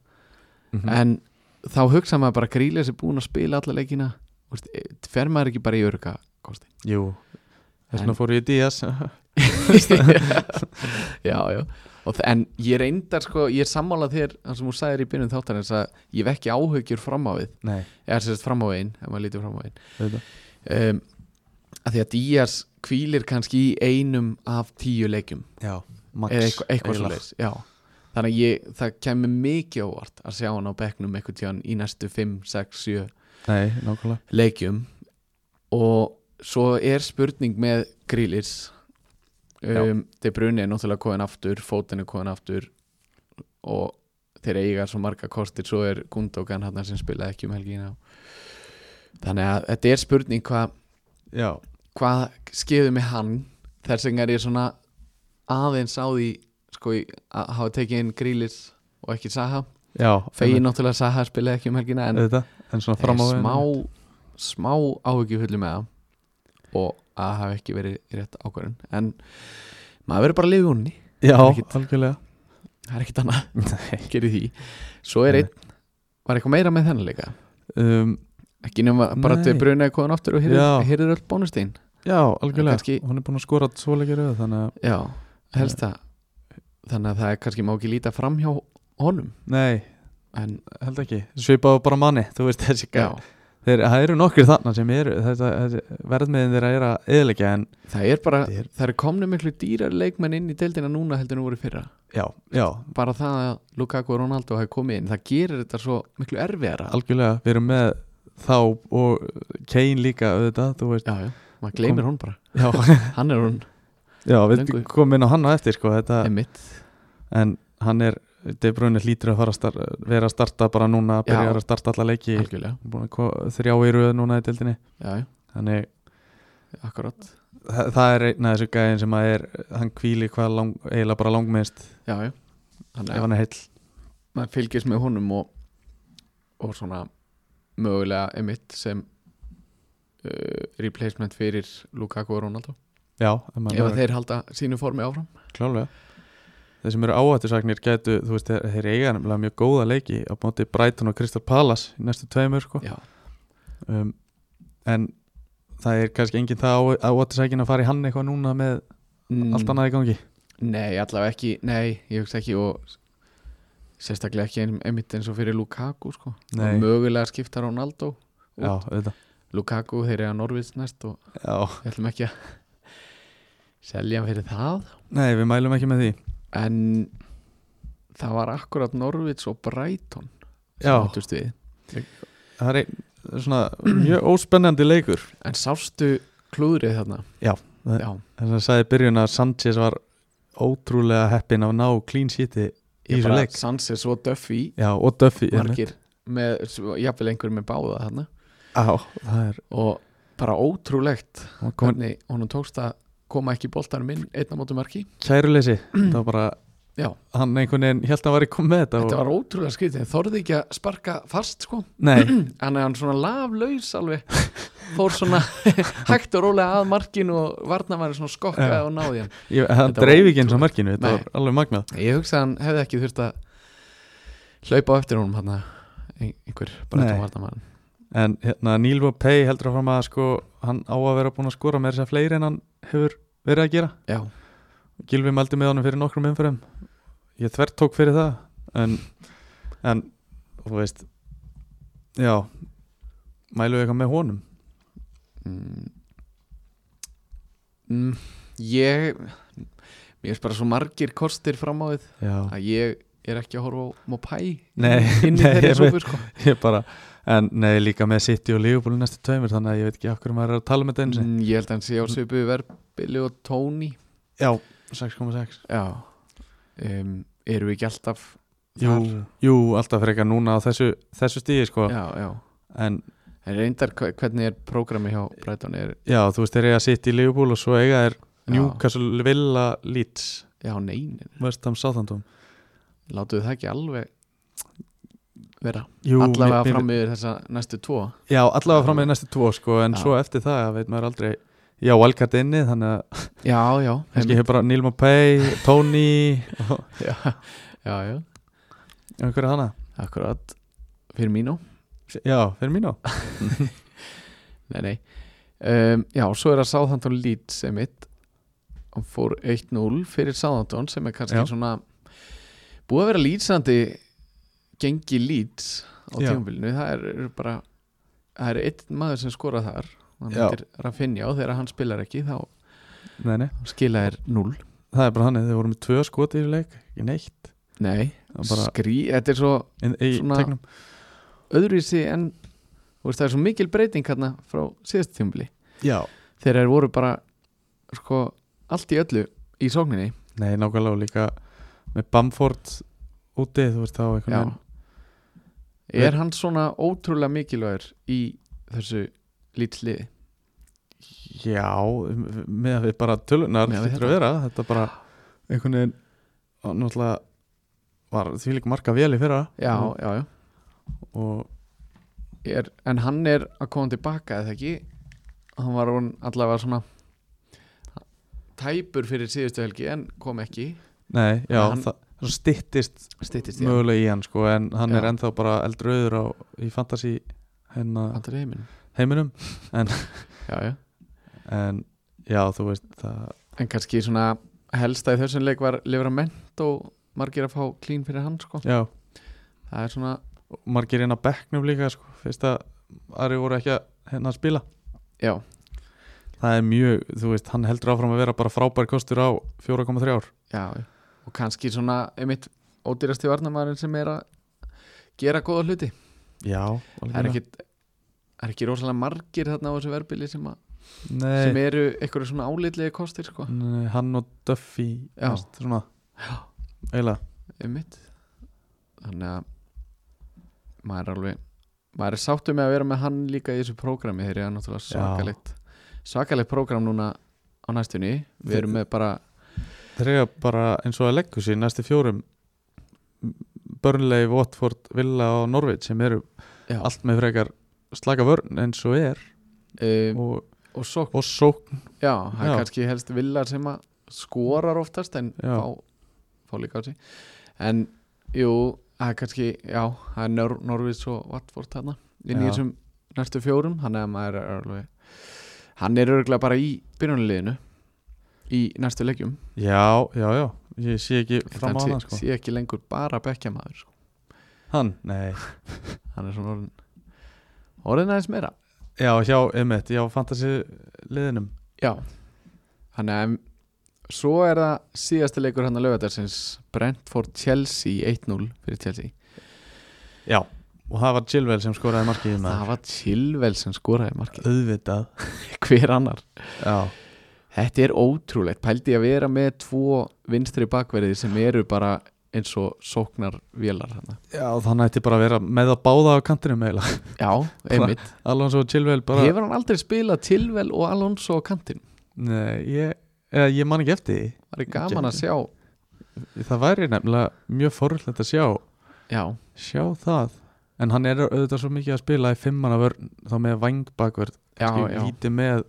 Mhm.
en þá hugsa maður bara grílis er búin að spila alla leikina Þú veist, eh, fer maður ekki bara í öruggukortin
jú, þess
En-
vegna fór ég í Díaz
já, já og, þ- en ég reyndar sko, ég er sammála þér það sem hún sagðir í byrjun þáttarins að ég vekki áhugjur fram á við
nei, eða
eða sérst fram á veginn, ef maður lítur fram á veginn
Auðvitað.
um, að því að Díaz hvílir kannski í einum af tíu leikjum
já, Max
eða eitthvað, eitthvað
eiginlega.
svoleiðis, já þannig að ég, það kemur mikið ávart að sjá hann á bekknum eitthvað tíðan í næstu 5, 6, 7
nei, nákvæmlega
leikjum og svo er spurning með grílis um, De Bruyne er náttúrulega koðin aftur fótinn er koðin aftur og þeir eiga svo marga kostir svo er Gundogan hann sem spilaði ekki um helgina þannig að þetta er spurning hvað
já,
hvað skeiði með hann þess vegna er ég svona aðeins á því sko í- að hafa tekið inn grílis og ekki Saha
já
fegin náttúrulega Saha spilaði ekki um helgina en
auðvitað, en svona
er
fram á
smá smá áhugjuhullu með það og að hafa ekki verið rétt ákvörðun en maður verður bara að lifa húnni
já,
ekkit-
algjörlega
það er ekkit annað,
nei
gerir því svo er
Nei.
einn, var eitthvað meira með þennan leika
um,
ekki nema bara
Nei.
til brunaði kóðan aftur og
Já.
hér er öll bónustegin
já, algjörlega,
kannski-
hún er búin að skora svo leikir auðvitað, þannig að,
Já,
Eh,
helst það Þannig að það er kannski má ekki líta fram hjá honum
nei,
En eh,
held ekki svipað á bara manni, þú veist þessi
já,
Þeir, það eru nokkur þarna sem eru þetta, þessi, verðmiðin þeirra er að eðleika en
það er bara
Þetta er-
Það er komnu miklu dýrar leikmenn inn í deildina núna heldur nú voru í fyrra
já, já,
Bara það að Lukaku og Ronaldo hafi komið inn Það gerir þetta svo miklu erfiðara
algjörlega við erum með þá og Kane líka auðvitað, þú veist
Já, já, maður gleymir
Kom-
hún bara
já,
Hann er hún
já við
Löngu.
komum inn á hann á eftir sko, þetta,
emitt
en hann er De Bruyne hlýtur að fara að star, vera að starta bara núna,
Já.
byrjar að starta alla leiki
Algjörlega,
búin að ko- þrjá í röð núna í deildinni
já, já,
þannig
akkurat
það, það er einn af þessu gæðin sem að er hann kvíli hvað lang, eiginlega bara langminnst
Já, já, þannig
ef
að
hann er heill
maður fylgist með honum og, og svona mögulega emitt sem uh, replacement fyrir Lukaku og Ronaldo
já, ef maður
ef
er-
að þeir halda sínu formi áfram
Klálega Þeir sem eru áhættusagnir gætu, þú veist, þeir, þeir eiga nefnilega mjög góða leiki á móti Brighton og Crystal Palace í næstu tveimur sko.
já,
um, en það er kannski enginn það áhættusakin að fara í hann eitthvað núna með
Mm.
allt annað í gangi
nei, allavega ekki, nei, ég hugsa ekki og sérstaklega ekki ein- einmitt eins og fyrir Lukaku sko.
Nei.
Og mögulega skipta Ronaldo
Já, auðvitað
Lukaku, þeir eru að Norvins næst og
Já.
við ætlum ekki að selja hann fyrir það
Nei, við mælum ekki með því
en það var akkurat Norvins og Brighton sem
Já.
áttust við.
Það er ein, svona mjög óspennandi leikur
en sástu klúðrið þarna
Já, það-
já,
þess að sagði í byrjun að Sanchez var ótrúlega heppin að ná clean sheeti Í
ég
þessum
bara
leik.
sansi svo Duffy
Já, og Duffy einmitt.
margir með, svo- jafnvel einhver með báða þarna
Já, það er
og bara ótrúlegt
hann var komin
hvernig honum tókst að koma ekki boltanum inn einna mótum marki
kæruleysi það var bara
Já.
hann einhvern veginn held að hann var í komið með þetta,
þetta
og,
var ótrúlega skrítið, þorði ekki að sparka fast sko,
nei,
hann er hann svona laflaus alveg, fór svona hægt og rólega að markinu og varna var svona skokkaði
Já.
og náði hann
ég, hann
Þetta var
dreif ekki eins og markinu þetta
Nei.
var alveg magnað
ég hugsa að hann hefði ekki þurft að hlaupa á eftir honum hann einhver bara
Nei.
þetta varnamann
en hérna Neil Vopay heldur áfram að sko, hann á að vera búin að skora með þess að segja fleiri en hann hefur verið að gera
já,
Gilvi mældi með honum fyrir nokkrum umfyrum ég þvert tók fyrir það en, en þú veist já mælum við eitthvað með honum
Mm. Mm, ég Mér finnst bara svo margir kostir fram á þið
já,
að ég er ekki að horfa á Mopai
Nei,
inn í
nei,
þeirri
ég
súpu sko.
ég bara en nei, líka með City og Liverpool í næstu tveimur þannig að ég veit ekki af hverju maður er að tala með þetta eins
mm, Ég held að hann sé á svipu verbili og tóni
já, 6,6
Já um, Eru við ekki alltaf
Jú, jú, alltaf frekar núna á þessu, þessu stíði sko
Já, já
en
En reyndar hve- hvernig er prógrami hjá Breiton er
já, þú veist, þeir eiga sitt í Liverpool og svo eiga þeir Newcastle, Villa, Leeds
já, nei, nei,
West Ham, Southampton
látum við það ekki alveg vera
Jú,
allavega
mér- mér-
fram yfir þessa næstu tvo
Já, allavega fram með næstu tvo sko en
Já.
svo eftir það veit maður aldrei Já, Valkart inni, þannig að
já, já,
kannski hefur bara Neil Mopay, Tony og
já, já, já,
einhverja hana
akkurat fyrir mínu,
Já, fyrir mínu
nei, nei um, já, svo er að Southampton Leeds sem mitt hann fór 1-0 fyrir Southampton sem er kannski
Já.
svona búið að vera lýtsandi gengi Leeds á
Já.
tímabilinu, það er, er bara það er einn maður sem skorað þar hann
Já.
heitir Rafinha og þegar hann spilar ekki þá
Nei, nei,
skila er 0
það er bara hann Þið vorum með tvö skot í þessu leik, ekki neitt
nei,
Það var bara
skrí, þetta er svo
in, í
Svona-
tegnum
öðruvísi en þú veist, það er svo mikil breyting hérna frá síðast tjómbli
Já
þegar þeir voru bara sko, allt í öllu í sókninni
Nei, nákvæmlega og líka með Bamford úti, þú veist þá einhvern
Já.
veginn
er hann svona ótrúlega mikilvægur í þessu lítli
Já, m- með að við bara tölunar
Miðað við
hlýtur að vera, þetta bara einhvern veginn og náttúrulega var því líka marka vel í fyrra
já,
og,
já, já
og
Mm. er, en hann er að koma tilbaka eða ekki hann var hún allavega svona tæpur fyrir síðustu helgi en kom ekki
nei, já,
Hann-
það, það stittist
styttist í
mögulega í hann sko, en hann
Já.
er ennþá bara eldröður á, í fantasy hennar
hann til heiminn
heiminum
já, já.
en já, þú veist það,
en kannski svona helsta í þessum leik var livrament og margir að fá klín fyrir hann sko
já,
það er svona,
og margir inn á bekknum líka sko, fyrst að aðri voru ekki að hérna að spila
já,
það er mjög, þú veist, hann heldur áfram að vera bara frábær kostur á 4,3 ár
já og kannski svona, einmitt ódýrasti varnamæðurinn sem er að gera góða hluti,
já,
það er ekki það er ekki rosalega margir þarna á þessu verbili sem, að,
nei,
sem eru einhverju svona álitlega kostir sko,
Nei, hann og Duffy
Já.
veist, svona eiginlega
einmitt þannig að maður er alveg maður er sáttu með að vera með hann líka í þessu prógrami þegar ég er náttúrulega
Já.
svakalegt svakalegt prógram núna á næstunni við erum með bara,
þeir eru bara eins og að leggu sér næstu fjórum Burnley, Watford, Villa og Norwich sem eru
Já.
allt með frekar slaka vörn eins og er
um,
og,
og svo
og sókn
Já, það
Já.
er kannski helst villar sem að skorar oftast en
Já.
fá, fá líka á sig en jú, það er kannski já, það er Nor Norvís og Watford þarna inn í
Já.
þessum næstu fjórum þannig að maður er alveg hann er örgulega bara í byrjunarliðinu í næstu leggjum
já, já, já, ég sé ekki fram á
hann
hann
sé,
sko.
sé ekki lengur bara bekkjamaður sko.
hann, nei,
hann er svona orðin orðin aðeins meira
já, hjá Emmett, já, fantasy liðinum
Já Þannig að svo er það síðasti leikur hann að lögadagsins Brentford Chelsea 1-0 fyrir Chelsea
já, og það var Chilwell sem skoraði markið í
Það
maður,
var Chilwell sem skoraði markið
auðvitað
Hver annar?
já,
Þetta er ótrúlegt, pældi ég að vera með tvo vinstri bakverði sem eru bara eins og sóknar vélar hana.
já, þannig ætti bara að vera með að báða á kantinum eiginlega
Já, einmitt
Alonso og Chilwell bara
Hefur hann aldrei spilað Chilwell og Alonso á kantinn?
Nei, ég, eða, ég man ekki eftir því
Það er gaman að sjá
Það væri nefnilega mjög forullet að sjá
Já,
Sjá það En hann er auðvitað svo mikið að spila í fimmana vörn Þá með vangbakvörð
já,
kannski
já
Lítið með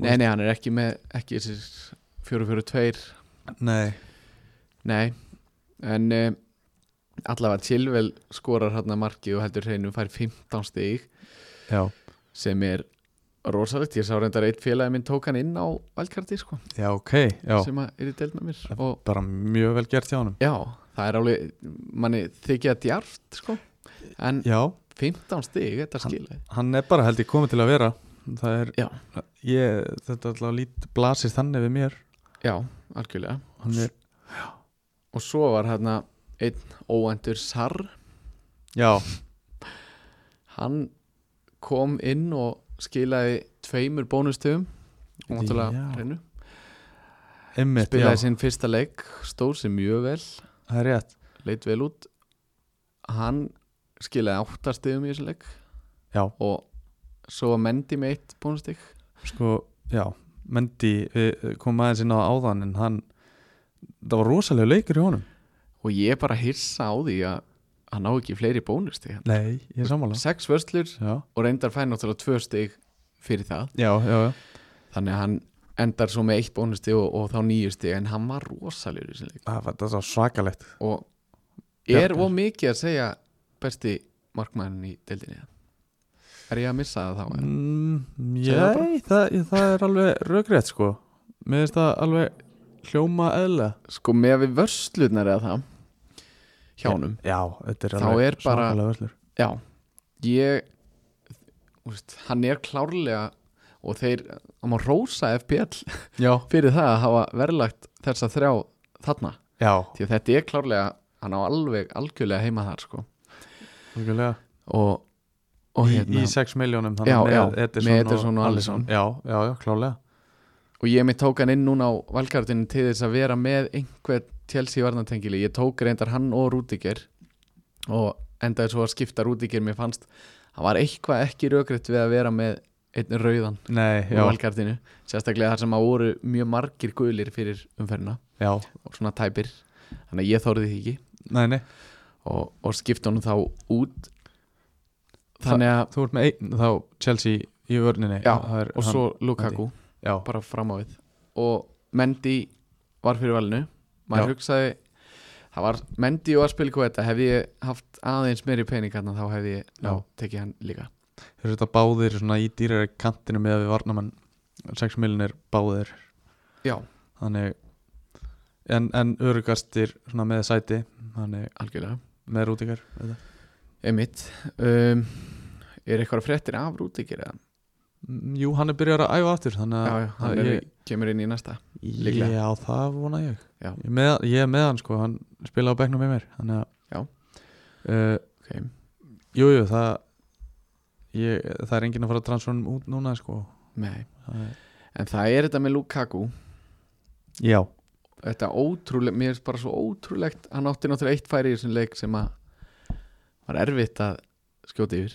Nei, nei, hann er ekki með, ekki þessi 4-4-2
Nei
Nei, en uh, allavega Chilwell skorar hérna markið og heldur hreinu fær 15 stig
Já,
sem er rosalegt, ég sá reyndar eitt félagi minn tók hann inn á valkarti sko,
já, ok já.
sem að er í deild með mér og
Bara mjög vel gert hjá honum
já, það er alveg manni þykja djart sko en
Já,
15 stig, þetta
Hann-
skilaði
hann er bara held ég komið til að vera Það er
Já.
ég, Þetta alltaf lít blasir þannig við mér
Já, algjörlega
Hann er,
og svo var hérna einn óendur Sar
Já,
hann kom inn og skilaði tveimur bónustöfum og náttúrulega
Já.
hreinu
einmitt já,
spilaði sinn fyrsta leik stóð sér mjög vel,
Það er rétt
leit vel út hann skilaði áttastigum í þessu leik
Já.
og svo var Mendy með eitt bónustig
Sko, já, Mendy við komum aðeins inn á áðan en hann, það var rosalega leikur í honum
og ég er bara að hissa á því að hann ná ekki fleiri bónusti
Nei, ég er sammála
sex vörslur
Já,
og reyndar fær náttúrulega tvö stig fyrir það
já, já, já.
þannig að hann endar svo með eitt bónusti og, og þá níu stig en hann var rosalegur í sinni leik
Það Ah, var, það var svakalegt
og er
Bjargar.
of mikið að segja besti markmannin í deildinni er ég að missa það þá mm.
mm,
Segðu það bara.
Jæ, það, það er alveg rökrétt sko Mér finnst það alveg hljóma eðla
sko með við vörslurnar eða það hjánum
Já, þetta er
Þá
alveg
er bara-
svakalega vörslur
Já, ég úst, hann er klárlega og þeir, hann má rósa FPL
Já,
fyrir það að hafa verðlagt þessa þrjá þarna
já,
því að þetta er klárlega, hann á alveg algjörlega heima þar sko
algjörlega
og, og,
í,
hérna,
í 6 miljónum
Já,
með
já,
Ederson
með Ederson og Alisson.
Já, já, já, klálega
og ég mitt tók hann inn núna á valkartinu til þess að vera með einhver tjelsi varnatengili, ég tók reyndar hann og Rúdiger og endaði svo að skipta Rúdiger, mér fannst hann var eitthvað ekki rökrétt við að vera með einn rauðan
Nei,
úr
já,
valkartinu sérstaklega þar sem að voru mjög margir guðlir fyrir umferðina
já,
og svona tæpir þannig að ég þorði því ekki
nei, nei
og, og skipta honum þá út þannig að
Þú ert með einn þá Chelsea í vörninni
já,
Það er
og
hann-
svo Lukaku
Já,
bara fram á við og Mendy var fyrir valinu maður
Já.
hugsaði það var Mendy og Aspilico þetta hefði ég haft aðeins meiri pening hann þá hefði ég já.
Já.
tekið hann líka
þeir eru þetta báðir svona í dýrari kantinu með að við varnamann 6 miljónir báðir
já,
Þannig En, en örugastir svona með sæti Þannig
algjörlega
með rútingar
Emmitt um, er eitthvað fréttir af Rúdíkir eða?
Mm, Jú, hann er byrjar að æfa aftur Þannig
Já,
að
já, hann
að
Ah, er,
ég,
kemur inn í næsta líklega.
Já, það vona ég
Já.
Ég, með, ég er með hann sko, hann spila á bekknum með mér Þannig
Já.
að uh,
okay.
Jú, jú, það ég, Það er enginn að fara að transferum út núna sko.
Nei,
Það er,
en það er þetta með Lukaku
Já,
Þetta ótrúlega, mér er bara svo ótrúlegt Hann átti náttúrulega eitt færi í þessum leik sem að var erfitt að skjóta yfir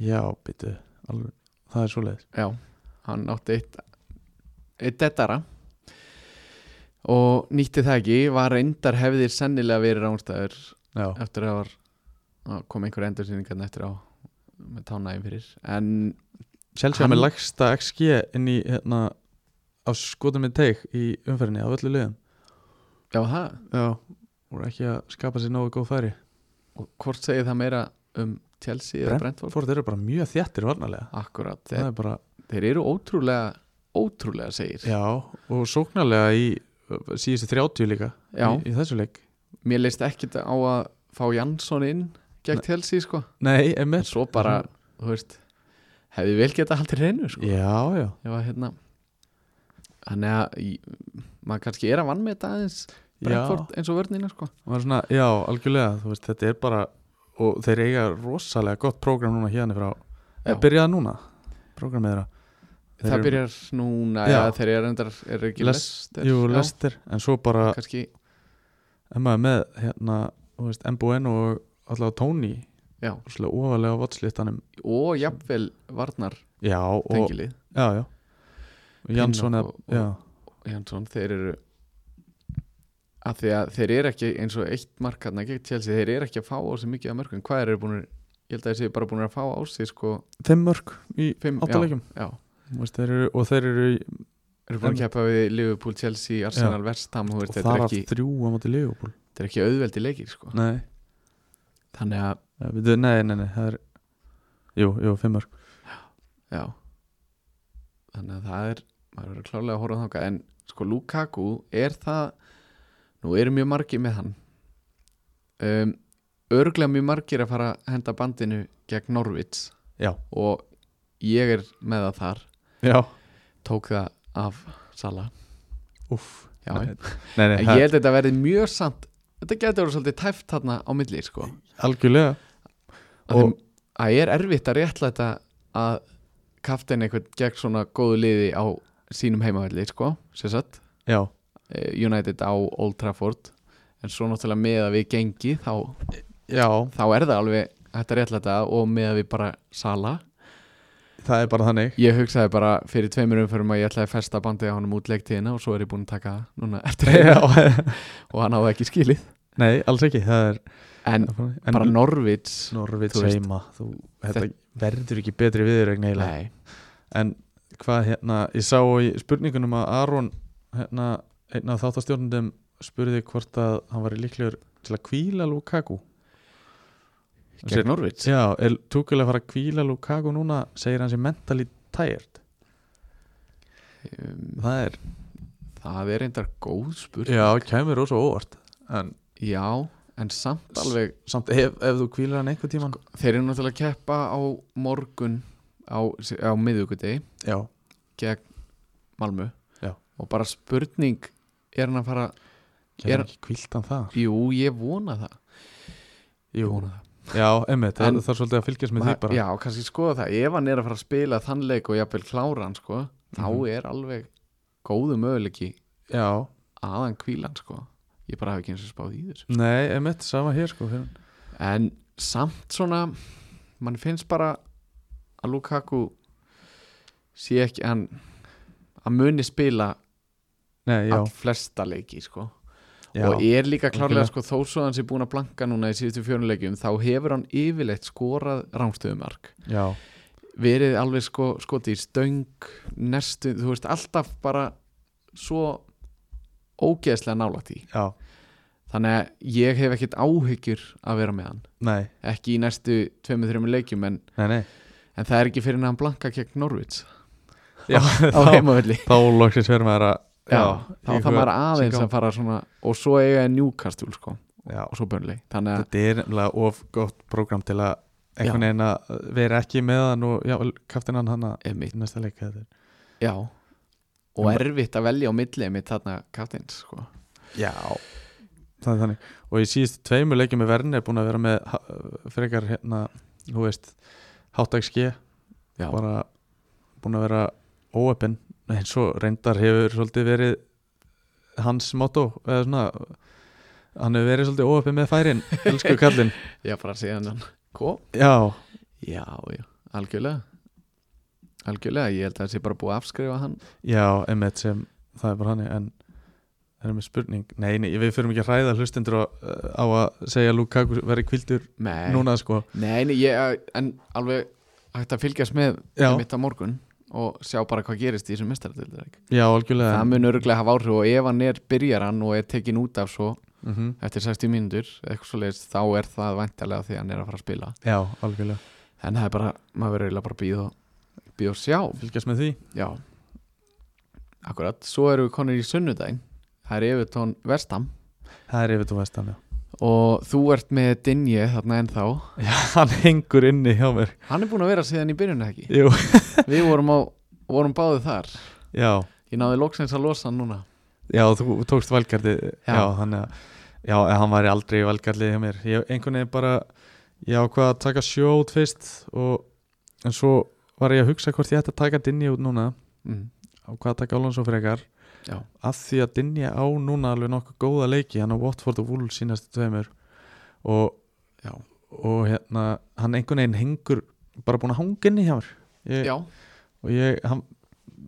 já, býtu alveg, Það er svo leið
Já, hann átti eitt eitt dettara og nýtti það ekki var reyndar hefðir sennilega verið ránstæður
Já,
eftir að það var að kom einhver endursýningarn eftir á með tánægum fyrir en
Chelsea
Hann-
hann... með lagsta XG inn í hérna á skotum með teik í umferðinni á öllu liðum
já það,
Já, voru ekki að skapa sér nógu góð færi
og hvort segir það meira um Chelsea eða Brentford?
Fórt eru bara mjög þjættir varnarlega
Akkurat,
Það
þeir,
er bara,
þeir eru ótrúlega ótrúlega segir
já, og sóknarlega í uh, síðustu 30 líka
Já.
í, í þessu leik
Mér leist ekkit á að fá Jansson inn gegn Chelsea sko
Nei,
en
emmitt
svo bara, þú veist hefði vel geta haldið reynu sko
Já, já,
ég var hérna þannig að í- maður kannski er að vann með þetta aðeins Brentford eins og vörnina sko
já, var svona, já, algjörlega þú veist, þetta er bara, og þeir eiga rosalega gott prógram núna hérna frá
Já.
eða byrjaði núna, prógramið þeirra Þeir
það
eru-
byrjar núna
Já.
já. þeir eru endar, er ekki
Les-
lestir
Jú, lestir, en svo bara
kannski,
en maður með hérna, þú veist, MBN og allavega Tony
já,
svolítið ofalega á vatslistanum
og jafnvel varnar
já, og,
tengilið,
já, já Og Jansson eða,
Pinnock og-
já,
Jansson, þeir eru að því að þeir eru ekki eins og eitt markarna gegn Chelsea, þeir eru ekki að fá á sig mikið af mörgum, hvað eru búin ég held að þeir séu bara búin að fá á sig sko
þeim mörg í
fimm, já,
áttalegum
já,
og þeir eru í-
eru búin að
En-
keppa við Liverpool, Chelsea, Arsenal, Vestham
og
þetta
þar
er
af
ekki,
þrjú á móti Leopold
þetta er ekki auðveldi leikir sko
nei,
þannig að,
ja, við, nei, nei, nei, það er jú, jú, fimm mörg
já þannig að það er, maður verður klálega að horfa þáka en sko Lukaku er það nú eru mjög margir með hann um, örglega mjög margir að fara að henda bandinu gegn Norvits
já,
og ég er með það þar
já,
tók það af Sala
uff
já,
nei,
en
nei, nei
ég
það,
held að þetta verði mjög samt þetta getur verið svolítið tæft þarna á milli sko
algjörlega
og
Og-
það er erfitt að réttlæta að kaftin einhvern gegn svona góðu liði á sínum heimavelli sko, sem sagt
já,
eh, United á Old Trafford en svo náttúrulega með að við gengi þá,
já,
þá er það alveg hægt að réttlæta og með að við bara sala
það er bara þannig
Ég hugsaði bara fyrir tveimur umförum að ég ætlaði að festa bandið á honum út leiktíðina og svo er ég búin að taka það núna eftir
Já,
og hann áði ekki skilið
Nei, alls ekki Það er
en,
en
bara Norvits
Norvits
þú veist,
heima þú, Þetta verður ekki betri viðurögn eiginlega
Nei,
En hvað hérna Ég sá í spurningunum að Aron hérna, einn af þáttastjórnundum spurði hvort að hann var líklegur til að kvíla Lukaku Sér-
gegn Norvits
Já, er túkulega að fara að kvíla Lukaku núna segir hann sér mentally tired
um,
Það er
Það er reyndar góð spurning
Já, kemur rosa óvart En
Já, en samt alveg
samt ef, ef þú kvílar hann einhver tíman
Þeir eru náttúrulega að keppa á morgun á, á miðvikudegi
Já,
gegn Malmö
Já.
og bara spurning er hann að fara,
kemur
Er-
er, ekki kvílt hann það
jú ég vona það Ég vona það
Já, emmi, það,
En-
það er svolítið að fylgjast með því bara
Já, kannski skoða það, ef hann er að fara að spila þann leik og jafnvel klára hann sko
Mhm.
þá er alveg góðu möguleiki
Já,
að hann kvíla hann sko ég bara hef ekki eins og spáð í þessu
nei, emmi, sama hér sko hér.
en samt svona mann finnst bara að Lukaku sé ekki hann að muni spila
Nei, já,
all flesta leiki sko
já,
og er líka klárlega
algjörlega.
sko þó svo hann sé búin að blanka núna í síðustu fjöruleikjum þá hefur hann yfirleitt skorað rángstöðumark
já
verið alveg sko skoti í stöng næstu, þú veist alltaf bara svo ógeðslega nálægt í
Já,
þannig að ég hef ekkit áhyggjur að vera með hann
nei,
ekki í næstu 2-3 leikjum en,
nei, nei
en það er ekki fyrir en hann blanka gegn Norvits
Já,
á
þá,
heimavöldi
þá loksins verður maður að
já, þá
íhuga
þarf maður aðeins
sig á-
að fara svona og svo eiga en Newcastle sko
Já,
og svo börnleg þannig að
þetta er nefnilega of gott prógram til að einhvern veginn að vera ekki með hann og já, kaftin hann hann að
emitt,
í næsta leik þetta er-
já og erfitt að velja á milli emitt þarna kattins sko
Já Það er þannig Og í síðust tveimur leikjum með verðin er búin að vera með ha- frekar hérna, þú veist hátækski
já,
bara búin að vera óöppin eins og reyndar hefur svolítið verið hans motto eða svona hann hefur verið svolítið óöppin með færin elsku kallinn
já bara síðan hann kom
já,
já, já, algjörlega algjörlega, ég held að það sé bara búið að afskrifa hann
já, emmitt sem það er bara hann en það er með spurning nei, nei, við förum ekki að hræða hlustendur á, á að segja að Lukaku verið kvildur
nei,
núna sko
nei, nei ég, eh, en alveg hægt að fylgjast með
Já.
emitt á morgun og sjá bara hvað gerist í þessum mestaradildar
já, algjörlega
það mun örgulega hafa áhrif og ef hann er byrjar hann og er tekin út af svo
mm
eftir 60 mínútur eitthvað svoleiðis þá er það væntalega því að hann er að fara að spila
já, algjörlega
en það er bara, maður verður eiginlega bara að býða og býða og sjá
fylgjast með því
já, akkurat, svo erum við konir í sunnudaginn það er Evertón Vestam
það er yfir þú veist hann já
og þú ert með Dinje þarna ennþá
já, hann hengur inni hjá mér
hann er búin að vera síðan í byrjun eða ekki
jú,
við vorum, á, vorum báðið þar
já
ég náði loksins að losa hann núna
Já, þú tókst valkarti
Já.
Já, þannig að Já, en hann var aldrei valkarlið hjá mér Ég einhvern veginn bara Ég ákvað að taka sjót fyrst og, En svo var ég að hugsa hvort ég ætti að taka Dinja út núna
mm.
Ákvað að taka Alonso frekar
Já.
Af því að Dinja á núna alveg nokkuð góða leiki Hann á Watford og Wolves sínastu tveimur Og
Já.
Og hérna, hann einhvern veginn hengur Bara búin að hanga inni hjá mér ég,
já,
og ég, hann,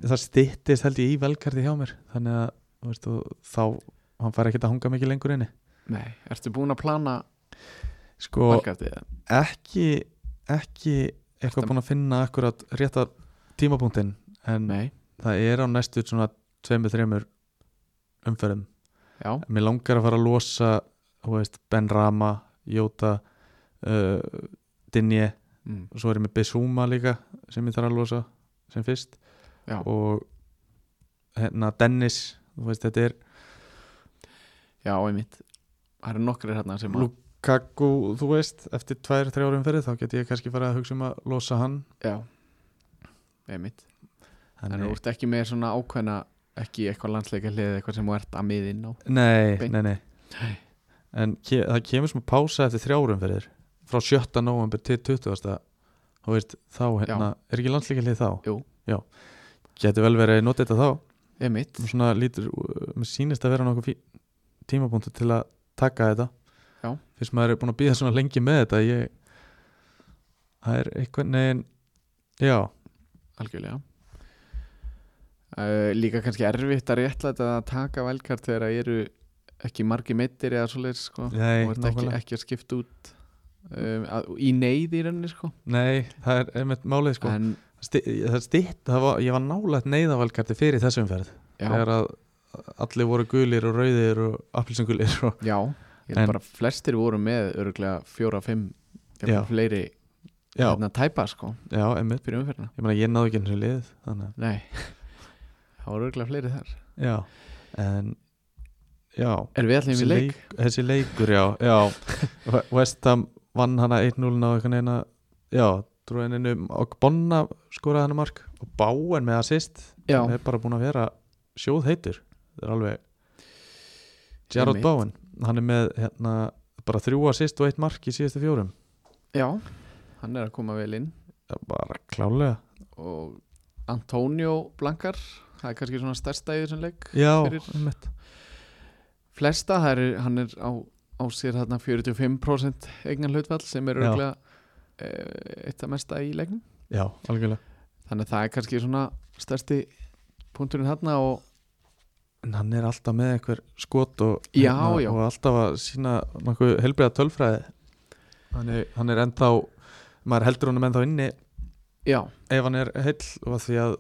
það styttist held ég í velkarti hjá mér þannig að þú veist, og þá hann fær ekkert að hanga mikið lengur inni
nei, ertu búin að plana
sko
valkartið eða?
ekki ekki eitthvað
Ertu-
búin að finna akkurat rétta tímapunktin en
nei,
það er á næstu svona tveimur, þreimur umferðum
já,
mér langar að fara að losa þú veist, Ben Rama, Jóta uh, Dinje
mm.
og svo er ég með Bissúma líka sem ég þarf að losa sem fyrst
Já.
og hérna Dennis þú veist þetta er
já, einmitt það eru nokkrir hérna sem að
Lukaku þú veist eftir tvær, þrjá árum fyrir þá get ég kannski farið að hugsa um að losa hann
já, einmitt en
Þannig-
þú ert ekki með svona ákveðna ekki eitthvað landsleika hlið eitthvað sem þú ert að miðinn á
nei,
Beint.
nei, nei
Nei.
en ke það kemur sem að pása eftir þrjá árum fyrir frá 7. november til 20. þú veist þá hérna, er ekki landsleika þá?
Jú.
Já, getur vel verið að nota þetta þá
einmitt,
Og svona lítur, mér sýnist að vera nokkuð fí- tímapunktur til að taka þetta
Já.
fyrst maður er búin að býða svona lengi með þetta ég það er eitthvað negin já,
algjörlega uh, líka kannski erfitt að réttlæta að taka velkart þegar það eru ekki margi meittir eða svoleiðis sko.
Nei,
og ert ekki,
nákvæmlega.
ekki að skipta út um, að, í neyð í rauninni sko.
Nei, það er einmitt málið sko
en
Sti, Það stitt, það var, ég var nálægt neyðavalkarti fyrir þessum ferð
já,
Þegar að allir voru gulir og rauðir og appelsingulir og
já ég held
En-
bara að flestir voru með öruglega fjóra, fimm
Já.
jafnvel fleiri
Já,
hérna, tæpa sko,
já, einmitt
fyrir umferðina
Ég meina, ég náði ekki eins og liðið Þannig
nei, það voru öruglega fleiri þar
að, já En, já
er við allir í leik?
þessi leikur, já, já. Ve- West Ham vann hana 1-0 á einhvern veginn að já, trúið henni um og Bonna skoraði henni mark og Báen með assist
já,
hann er bara búin að vera sjóð heitur það er alveg Gerard
Einmitt.
Báen, hann er með hérna, bara þrjú assist og eitt mark í síðustu fjórum
já, hann er að koma vel inn
Það er bara klálega
og Antonio Blankar það er kannski svona stærsta í þessum leik
já,
Fyrir-
einmitt.
flesta, það er, hann er á, á sér þarna 45% eignan hlutfall sem er
Já.
örgulega eitt af mesta í leiknum
já, algjörlega
þannig að það er kannski svona stærsti punkturinn þarna og
en hann er alltaf með einhver skot og, hérna,
Já, já.
og alltaf að sína nokkuð helbriða tölfræði hann er, hann er ennþá maður heldur honum ennþá inni
já,
ef hann er heill og af því að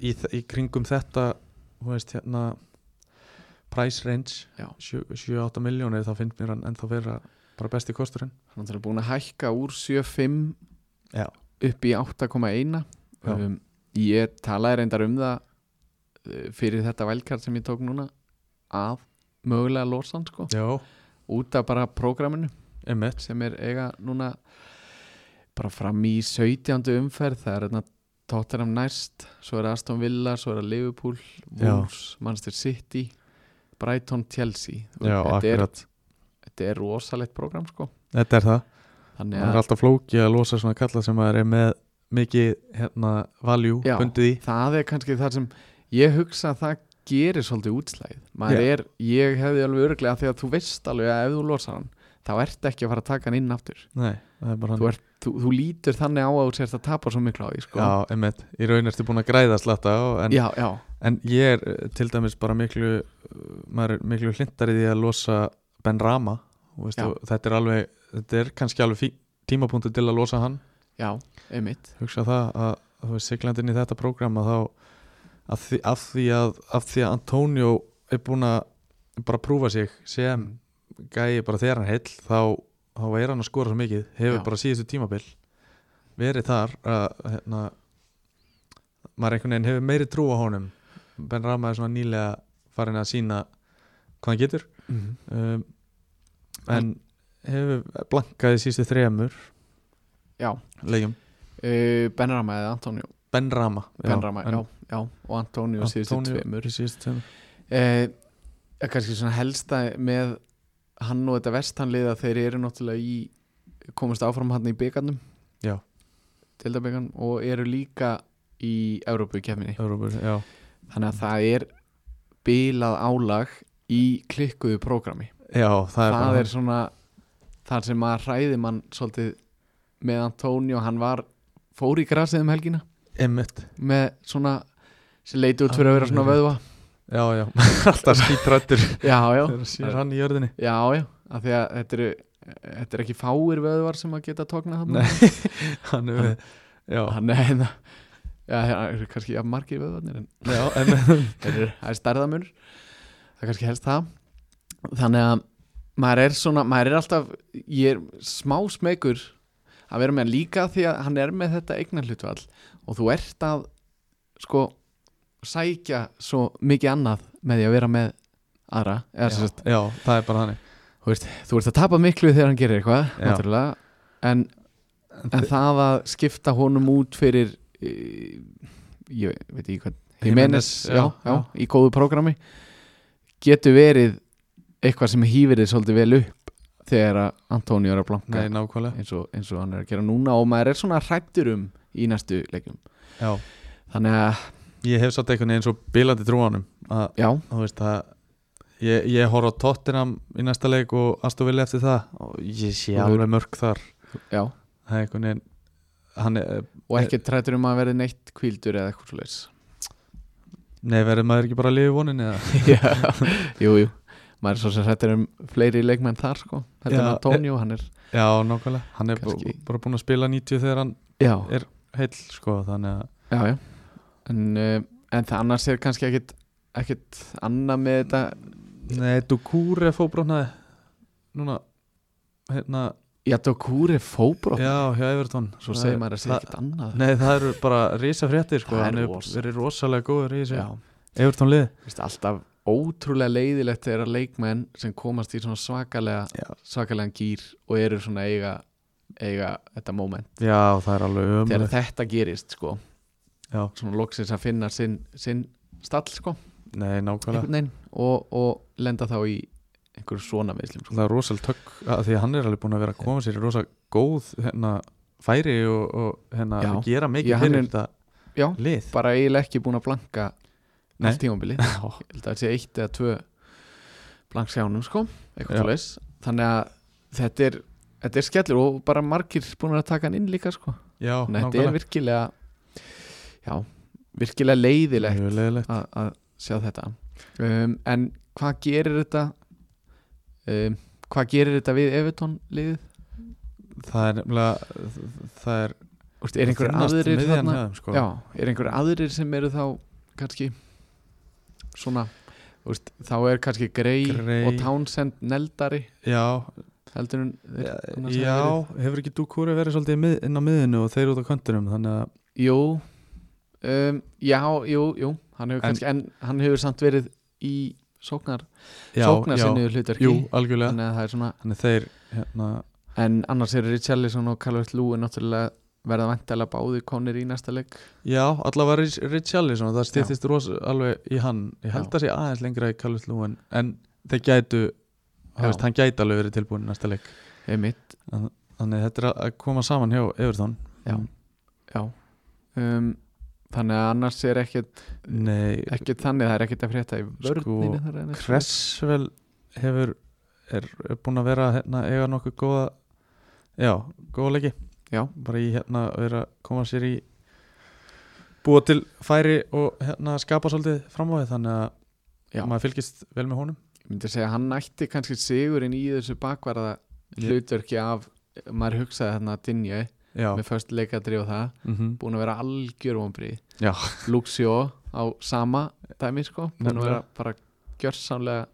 í, þ- í kringum þetta þú veist hérna price range
Já.
7-8 miljónir þá finnst mér hann ennþá vera bara besti kosturinn
hann er búin að hækka úr 7.5
Já.
upp í 8.1
Já.
um, ég talaði reyndar um það eh, fyrir þetta velkart sem ég tók núna að mögulega lósan sko
já,
út af bara prógraminu
emitt
sem er eiga núna bara fram í 17. umferð það er hérna Tottenham næst svo er Aston Villa, svo er Liverpool Wolves, Manchester City Brighton, Chelsea Þú
já,
veist, þetta, er,
akkurat,
þetta er rosalegt program sko
þetta er það
þannig
hann
að
er alltaf flóki að losa svona kalla sem maður er með mikið hérna value
Já.
bundið í
það er kannski það sem ég hugsa að það gerir svolítið útslæð maður
Já.
er, ég hefði alveg örglega því að þú veist alveg að ef þú losar hann þá ert ekki að fara að taka hann inn aftur
Nei, það er bara hann
þú, ert, þú, þú lítur þannig á að þú sérst að tapa svo miklu á því sko
Já, einmitt, í raun ertu búin að græða slatta á, en,
já, já,
en ég er eh, til dæmis bara miklu eh, maður er miklu hlindar í því að losa Ben Rama og veist,
Já.
og þetta er alveg, þetta er kannski alveg fí- tímapunktur til að losa hann
já, einmitt
hugsa það að þú veist, siglandin í þetta prógrama þá af því, af því að af því að Antonio er búin að bara prúfa sig sem gæi bara þegar hann heill þá, þá er hann að skora svo mikið hefur
Já.
bara síðustu tímabil verið þar að hérna, maður einhvern veginn hefur meiri trú á honum Ben Rama er svona nýlega farin að sína hvað hann getur um, en hefur blankaði síðustu þremur
Já.
leikjum
Uh, Benrama eða Antonio
Ben Rama
Benrama,
en-
já, já, og Antonio síðustu tveimur
í síðustu tveimur
uh, kannski svona helsta með hann og þetta vestanliða þeir eru náttúrulega í komast áfram hann í byggarnum
Já.
deildabyggarnum og eru líka í Európu kefinni
Európur, já,
þannig að það er bilað álag í klikkuðu prógrami
já það er,
það,
bara-
er svona þar sem maður hræði mann svolítið með Antonio, hann var fór í grasið um helgina
einmitt
með svona sem leiti út fyrir að vera svona vöðva
já, já, alltaf skítrættur
já, já,
sér hann í jörðinni
já, já af því að þetta eru þetta er ekki fáir vöðvar sem að geta tóknað þarna
Nei, hann er við já,
hann er hérna já, það eru kannski ja, margir vöðvarnir en
já, en
þeir eru- það er stærðamunur það er kannski helst það þannig að maður er svona maður er alltaf, ég er smá smekur að vera með hann líka því að hann er með þetta eignar hlutvall og þú ert að sko sækja svo mikið annað með því að vera með aðra eða, sem sagt,
já, já, það er bara þannig
þú ert að tapa miklu þegar hann gerir eitthvað
Já.
náttúrulega en, en það að skipta honum út fyrir eh, ég ve- veit ekki hvað Jimenez,
Jimenez,
já,
já,
já, í góðu prógrami getur verið eitthvað sem hýfir þið svolítið vel upp þegar að Antonio er að blanka
nei, nákvæmlega
eins og, eins og hann er að gera núna og maður er svona hrættur um í næstu leikum
já.
þannig að,
ég hef satt einhvern veginn svo bilandi trúanum að,
já,
þú veist, að ég, ég horf á Tottenham í næsta leik og Astovili eftir það og ég sé
Og-
alveg mörg þar
já
það er einhvern veginn hann er,
og ekki trættur um að verði neitt kvíldur eða eitthvað svo
nei verður maður ekki bara að lifa í voninni eða?
jú, jú maður er svo sem hrættur um fleiri leikmenn þar sko þetta er
Já,
Antonio, hann er
já, nákvæmlega, hann er
Kannski-
Kanski. bara búin að spila 90 þegar hann
já,
er heill sko, þannig að
já, já en, uh, en það annars er kannski ekkit ekkit annað með þetta
nei, Dukúr er fóbrotnaði núna hérna,
já, Dokúr er fóbrótt
já, hjá Evertón
svo
Það-
segir maður að segja
það-
ekkit annað
Nei, það eru bara rísa fréttir sko.
Það er
hann hefur
rosa.
verið rosalega góður í þessu
já,
Evertón lið
veist, alltaf ótrúlega leiðilegt þegar leikmenn sem komast í svona svakalega
Já.
svakalega gýr og eru svona eiga, eiga þetta moment
Já, það er alveg
þegar
ömulegt
þetta gerist sko
Já,
svona loksins að finna sinn, sinn stall sko
nei, nákvæmlega
einhvern veginn og, og lenda þá í einhverju svona meðslum sko.
Það er rosalega tökk að því að hann er alveg búin að vera að koma sér í rosa góð hérna, færi og, og hérna,
Já.
að gera mikið
Já, hann
fyrir
er-
þetta
já,
lið
bara eiginlega ekki búin að blanka
Nei.
allt tímabili ég held að það sé eitt eða tvö blank sjánum sko
Já.
eitthvað svoleiðis. þannig að þetta er, þetta er skellur og bara margir búin að taka hann inn líka sko
Já,
Þannig að þetta er virkilega já, virkilega leiðilegt
Mjög leiðilegt
að, að sjá þetta um, en hvað gerir þetta um, hvað gerir þetta við Evertón liðið?
Það er nefnilega Það er
Úst, er einhver
þynnast
aðrir
miðjan
um þarna
hjá þeim, sko.
já, er einhver aðrir sem eru þá kannski svona úst, þá er kannski Grey,
Gray.
og Townsend neldari
Já,
heldur en þeir annars hafa
já,
verið.
hefur ekki Dukúri verið svolítið í mið- inn á miðinu og þeir út á köntunum þannig að
jú um, já, jú, jú hann hefur,
En-
kannski, en, hann hefur samt verið í sóknar
já,
sóknarsinnu
já,
hlutverki
Jú, algjörlega
þannig að það er svona
Þannig þeir hérna,
en annars eru Richarlison og Calvert Lúin náttúrulega verða vantilega báði konir í næsta leik
Já, allavega Rich- Richarlison það stýttist rosa alveg í hann ég held
Já.
að sé aðeins lengra í Calvert Lúin en þeir gætu
Já.
það veist, hann gæti alveg verið tilbúin í næsta leik
einmitt,
þannig þetta er að- að koma saman hjá Everton
já,
Mm.
já. Um, þannig að annars er ekkit,
Nei,
ekkit þannig það er ekkit að frétta í vörninu þar en-
Sko, Cresswell hefur er, er búin að vera hérna, eiga nokkuð góða já, góða leiki
Já.
bara í hérna að vera að koma sér í búa til færi og hérna skapa svolítið fram á því þannig að
Já.
maður fylgist vel með honum
ég myndi segja að hann ætti kannski sigurinn í þessu bakvarða
Ég-
hlutverki af maður hugsaði þarna að Dinje
Já,
með först leikadri og það
mm
búin að vera algjör vonbri
Já.
Luxio á sama dæmi sko búin að
Nefnilega.
vera bara gjörsamlega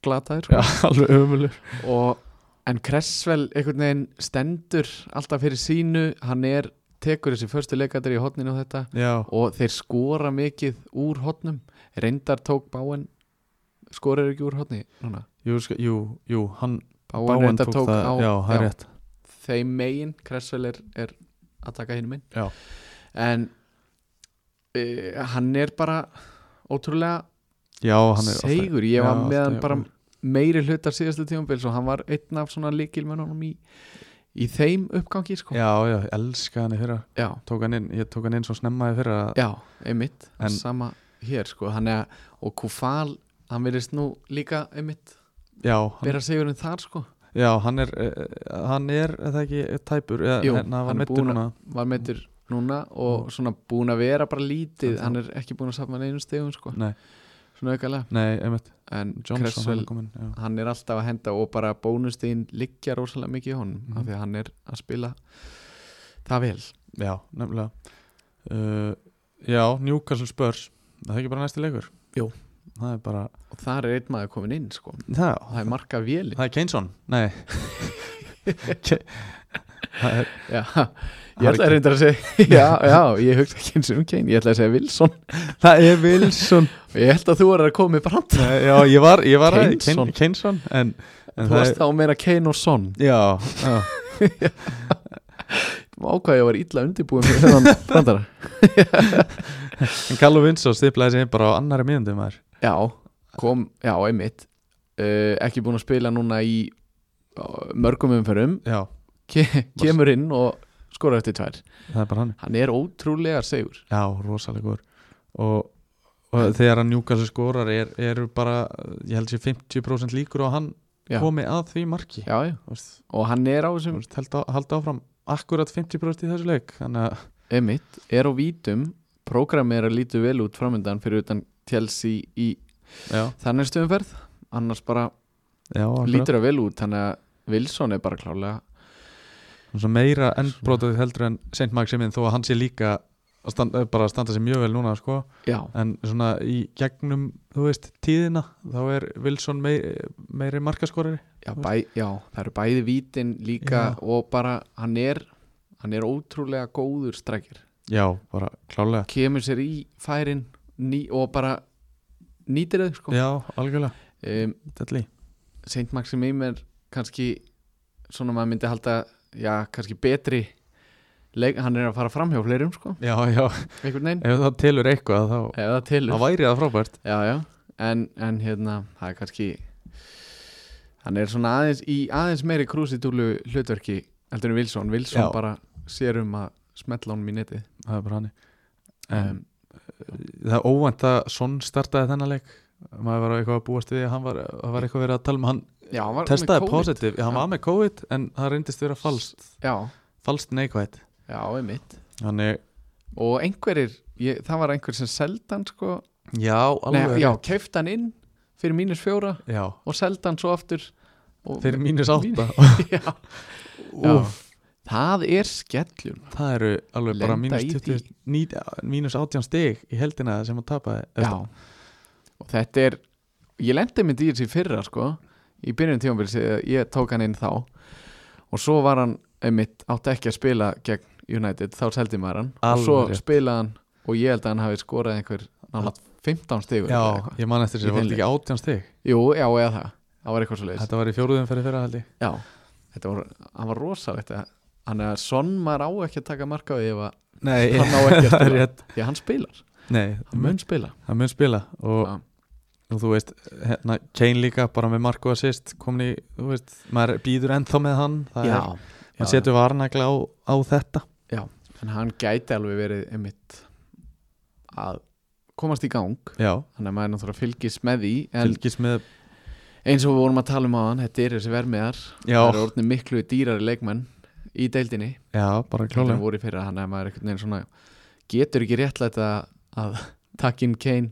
glataður sko.
já alveg ömulur
og en Kressvel einhvern veginn stendur alltaf fyrir sínu hann er, tekur þessi förstu leikadri í hotninu og þetta
Já,
og þeir skora mikið úr hotnum reyndar tók Báen skorar ekki úr hotni núna
jú, sko, jú, jú hann
Báen,
Báen
reyndar
tók,
tók,
það
á
Já, það er rétt
þeim megin Kressvel er, er að taka hinn minn
Já.
en uh, hann er bara ótrúlega
Já, hann er alltaf-
segur, ég var
Já,
með
alltaf
hann bara
jafn.
meiri hlutar síðastu tímabils og hann var einn af svona líkilmennunum í, í þeim uppgangi sko.
Já, já, ég elska hann í fyrra
já,
tók hann inn, Ég tók hann inn svo snemma í fyrra að-
já, einmitt
En-
sama hér sko, hann er og Kufal, hann virðist nú líka einmitt,
Já, hann
vera segurinn þar sko
Já, hann er, eh, hann er er það ekki eh, tæpur, eða,
Jú,
hérna,
hann
hann
er
var meittur
búinn að-
núna
var meittur núna
Mm.
og svona búin að vera bara lítið,
En þá-
hann er ekki búin að safna neinum stegum sko,
Nei,
svona aukalega
nei, einmitt,
en
Johnson hann
Kressvel,
er komin já.
hann er alltaf að henda og bara bónustegin liggja rosalega mikið í honum
Mhm.
af því að hann er að spila það vel
já, nefnilega uh, Já, Newcastle Spurs Það er ekki bara næsti leikur
Jú.
Það er bara,
og þar er einn maður komin inn sko.
það,
og það er marka vélin
það er Keyneson Nei Ke- Það er,
já, ég ætla að reynda að segja já, já, ég hugsa ekki eins og um Kane ég ætla að segja Wilson
það er Wilson
og ég held að þú er að koma með brand
Nei, Já, ég var, ég var að-
Keyneson.
Keyn- Keyneson En, en
þú varst þá að meira Kane og Son
Já, já
ákvað ég að vera illa undirbúin fyrir þennan brandara
En Callum Winslow stiplaði sig inn bara á annari mínundum maður
já, kom, já, einmitt uh, ekki búin að spila núna í uh, mörgum umferðum
Já,
Ke kemur inn og skorar eftir tvær
það er bara hann
hann er ótrúlega segur
Já, rosalegur og, og þegar að Newcastle skorar er, eru bara, ég held sér 50% líkur og hann
Já.
komi að því marki
já, já.
Þú veist,
og hann er á
þú
þessum
veist, held á, halda áfram akkurat 50% í þessu leik þannig að
Emmitt er á vítum Prógrammi er að lítu vel út framöndan fyrir utan Chelsea í
já,
þannig stöðumferð annars bara
já,
lítur það vel út þannig að Wilson er bara klálega
Svo meira endbrótið heldur en Saint Maximin þó að hann sé líka að standa, bara að standa sér mjög vel núna sko.
já,
en svona í gegnum þú veist tíðina þá er Wilson meiri, meiri markaskorari
já, bæ, já það eru bæði vítin líka
Já.
og bara hann er hann er ótrúlega góður strækir
já, bara klálega
kemur sér í færin ný, og bara nýtir þau sko
já, algjörlega,
um,
delli
Saint Maximim er kannski svona maður myndi halda já, kannski betri leik, hann er að fara fram hjá fleirum sko
já, já,
einhvern veginn,
ef það telur eitthvað þá
ef það telur
það væri það frábært
já, já. En, en hérna, það er kannski hann er svona aðeins í aðeins meiri krúsidúlu hlutverki heldur en Wilson, Wilson
Já.
bara sér um að smetla honum í neti
það er bara hann
um,
um, það er óvænt að Son startaði þennan leik maður var á eitthvað að búast við að hann var, það var eitthvað verið að tala um hann
Já, hann var með
testaði
COVID.
positive, já, hann
Já.
var með COVID en það reyndist vera falskt,
Já,
falskt neikvætt
já, einmitt
þannig,
og einhverjir, ég, það var einhver sem seldi hann sko,
já,
Nei,
alveg
já, kefti hann inn fyrir mínus fjóra
já,
og seldi hann svo aftur og,
fyrir mínus átta
já, já.
Úff.
það er skellun
Það eru alveg bara
Lenda
mínus,
í
20, ní, mínus 18 stig í heldina sem að tapaði
Já Og þetta er Ég lendi mynd í þessi í fyrra sko Í byrjun tímabils eh, ég tók hann inn þá Og svo var hann einmitt átti ekki að spila gegn United Þá seldi maður hann
Alveg
Og svo
rétt.
spilaði hann Og ég held að hann hafi skorað einhver Nála 15 stigur
Já,
eða eitthvað.
ég man eftir
Í
þessu, var
þeim
þetta ekki 18 stig?
Jú, já, eða það Það var eitthvað svo leiðis
Þetta var í fjóruðum fyrir fyrra held ég
Já, þetta var, hann var rosalegt að- Þannig að sonn maður á ekki að taka marka Því ef að
Nei,
hann á ekki að
það er
spila
rétt
Því að hann spilar,
Nei,
hann mun spila
hann mun spila og,
Já.
og þú veist, hérna, Kane líka bara með Marko assist komin í, þú veist, maður býður ennþá með hann það er,
já,
maður setur varnagla á, á þetta
en hann gæti alveg verið einmitt að komast í gang
Já,
þannig að maður náttúrulega fylgist með því en
fylgis með
eins og við vorum að tala um á hann þetta eru þessi vermiðar
Já,
það eru orðinu miklu dýrari leikmenn í deildinni
já, bara
þannig
klálega
að voru í fyrra þannig að maður einhvern veginn svona getur ekki réttlætt að, að takk inn Kane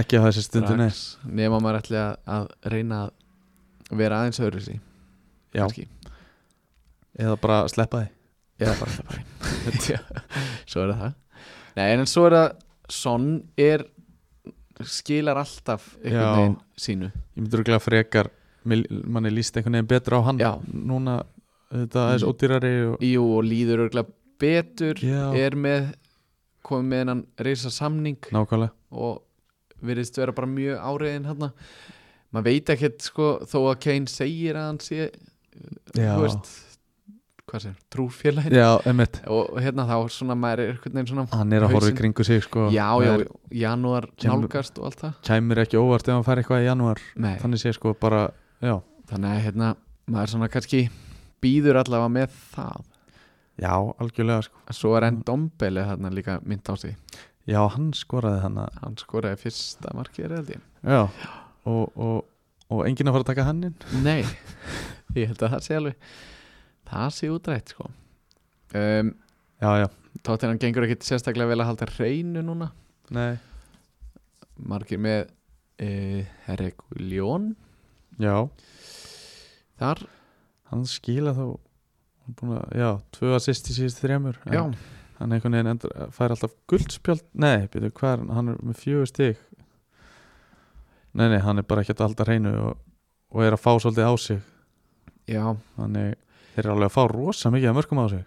Ekki á þessi stundu, nei
strax, nema maður ætli að, að reyna að vera aðeins öðru sí
Já, eða bara sleppa því
eða bara alltaf bæinn Já, svo er það það nei en svo er það Son er skilar alltaf
Já.
einhvern veginn sínu
ég myndur ekki að frekar mér- manni líst einhvern veginn betur á hann
Já.
núna þetta er
Mm.
ódýrari og,
Jú, og líður örgulega betur
Já.
er með komið með hennan reysa samning
nákvæmlega
og virðist vera bara mjög áriðin hérna maður veit ekkert sko þó að Kane segir að hann sé
Já.
þú veist, hvað sem, trúfélagin
já, emitt,
og hérna þá svona maður er einhvern veginn svona
hann er að horfa í
Hausinn.
kringu sig sko.
já, já,
Það er-
janúar
Kemur-
nálgast og allt það
kæmir ekki óvart ef hann fær eitthvað í janúar
Nei.
þannig sé sko bara, já
Þannig að hérna, maður svona kannski býður allavega með það
já, algjörlega sko
Svo er enn Dombele þarna líka mynd á sig
já, hann skoraði þannig
Hann skoraði fyrsta markið er held ég
já, og, og, og enginn að fara að taka hann inn
Nei, ég held að það sé alveg Það sé útrætt sko um,
já, já,
Tóttir hann gengur ekkit sérstaklega vel að halda reynu núna
nei
Markið með uh, Herreguljón
já,
Þar,
hann skila þá hann er búinn að- já, tvö assist í síðust þremur en-
já,
hann einhvern veginn endur, fær alltaf guldspjöld nei, byrju, hvað er hann, hann er með fjögur stig nei, nei, hann er bara ekkert alltaf hreinu og, og er að fá svolítið á sig
já
þannig, þeir eru alveg að fá rosa mikið að mörgum á sig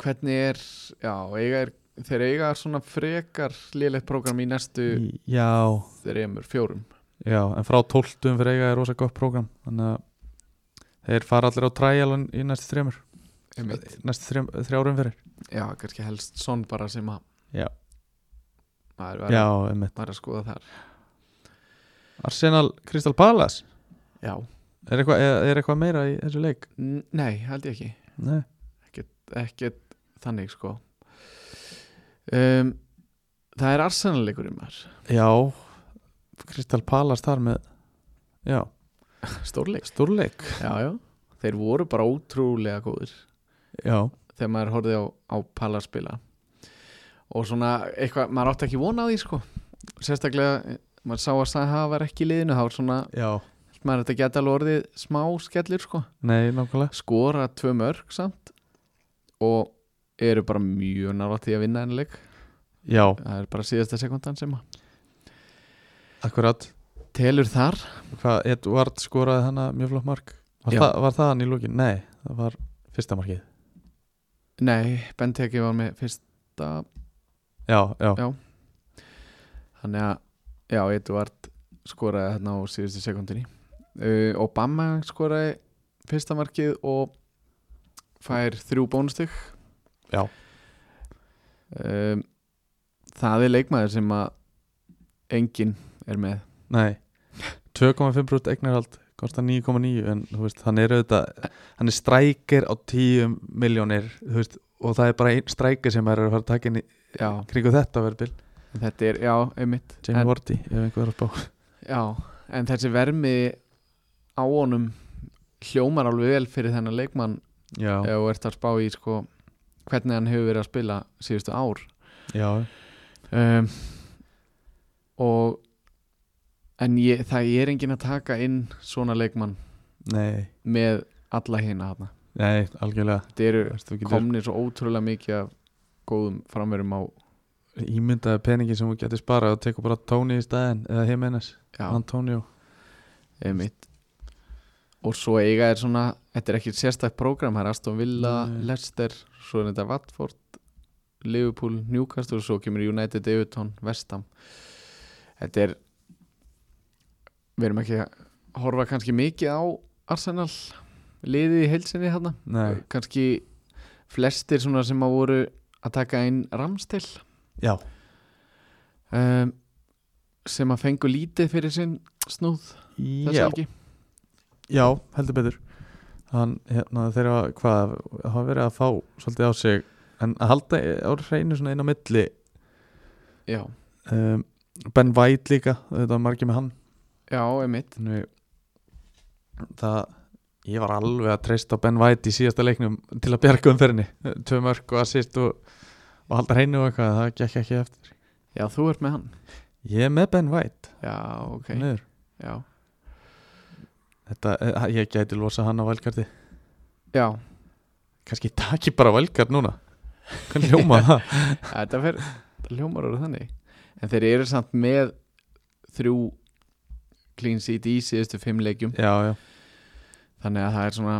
Hvernig er, já, eiga er Þeir eiga svona frekar lélegt prógram í næstu
Í- já,
þreymur, fjórum
já, en frá tóltum fyrir eiga er rosa gott prógram þannig að þeir fara allir á træjalan í næstu þremur
Einmitt.
næstu þrem, þrjárum fyrir
Já, kannski helst svon bara sem að
Já.
maður var,
já, emmitt,
maður að skoða þar
Arsenal Crystal Palace
Já,
er eitthvað, er, er eitthvað meira í þessu leik
N nei, held ég ekki
nei,
ekkert þannig sko um, Það er arsenalegur um þar
já Crystal Palace þar með já,
Stórleik
stórleik
Já, já, þeir voru bara ótrúlega góðir
já,
þegar maður horfði á, á Palla spila og svona eitthvað, maður átti ekki vona á því sko sérstaklega, eh, maður sá að Saha var ekki í liðinu, þá var svona
já
maður þetta geta alveg orðið smá skellir sko
nei, nákvæmlega
skora tvö mörg samt og eru bara mjög nála því að vinna ennileg
já,
það er bara síðasta sekundan sem að
akkurat
telur þar
hvað, Edvard skoraði hana mjög flott mark var,
Já.
það, var það hann í lókin? Nei, það var fyrsta markið
nei, Benteke var með fyrsta
já, já,
Já. þannig að, já, Eduard skoraði hérna á síðustu sekundinni uh, Obama skoraði fyrsta markið og fær þrjú bónustig
Já.
um, það er leikmaður sem að enginn er með
nei 2,5% eignarhald kostar 9,9 en þú veist, hann er auðvitað hann er strækir á 10 miljónir þú veist, og það er bara einn strækir sem er að fara að taka inn í
já,
kringu þetta verðbil,
þetta er, já, einmitt
Jamie
En-
Vardy ef einhver er að spá
Já, en þessi vermi á honum hljómar alveg vel fyrir þennan leikmann
já,
ef þú ert að spá í sko, hvernig hann hefur verið að spila síðustu ár
já,
um, og en ég, það er enginn að taka inn svona leikmann
nei
með alla hina þarna
nei, algjörlega
þetta eru
Þú veist, þú getur
komnir svo ótrúlega mikið af góðum framverum á
ímyndaði peningin sem þú getur sparað og tekur bara Tony í staðin eða Jimenez,
já,
Antonio
einmitt og svo eiga er svona þetta er ekki sérstætt prógram, það er Aston Villa
Nei.
Leicester, svo er þetta Watford Liverpool, Newcastle svo kemur United, Everton, Vestham þetta er við erum ekki að horfa kannski mikið á Arsenal liðið í heilsinni þarna
nei,
kannski flestir svona sem að voru að taka inn Ramstil
já,
um, sem að fengu lítið fyrir sinn snúð þess
já
að ekki
Já, heldur betur Hann, hérna, þeir hafa, hvað, hafa verið að fá svolítið á sig en að halda á hreinu svona inn á milli
já,
um, Ben White líka, þetta var margir með hann
já, emitt
Þannig, það, ég var alveg að treysta á Ben White í síðasta leiknum til að bjarga umferðinni tvö mörg og assist og, og halda hreinu og eitthvað, það gekk ekki eftir
Já, þú ert með hann
Ég er með Ben White
Já, ok
niður.
Já,
þetta, eh, ég gæti losa hann á valkarti
já.
kannski taki bara valkart núna hvernig hljóma það
þetta fer þetta hljómar orðið þannig En þeir eru samt með þrjú clean seat í síðustu fimm leikjum
Já, já,
Þannig að það er svona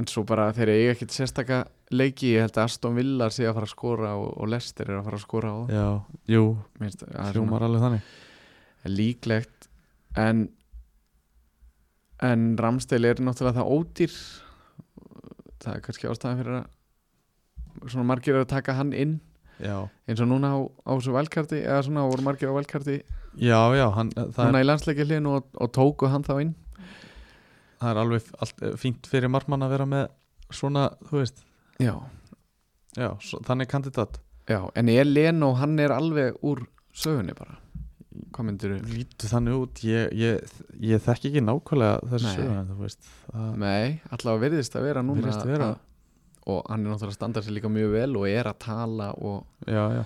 En svo bara þeir eru ekkert sérstaka leiki Ég held að Aston Villa sé að fara að skora og, og Lester er að fara að skora á það
já, jú,
Minnst, að það er svona
hljómar alveg þannig
líklegt En En Ramstil er náttúrulega það ódýr Það er kannski ástæðan fyrir að Svona margir eru að taka hann inn
Já,
eins og núna á, á þessu velkarti eða svona voru margir á velkarti
já, já hann, eh, það,
núna
er,
í landsleikilinu og, og tóku hann þá inn
það er alveg allt, eh, fínt fyrir marmann að vera með svona, þú veist
já,
Já, svo, þannig kandidat
já en ég Leno hann er alveg úr sögunni bara hvað myndir þú?
Lítu þannig út, ég, ég, ég þekki ekki nákvæmlega þessu
Nei.
söguna en þú veist það,
nei, allavega virðist að vera núna
Virðist vera.
og hann er náttúrulega að standa sér líka mjög vel og er að tala og
Já, já,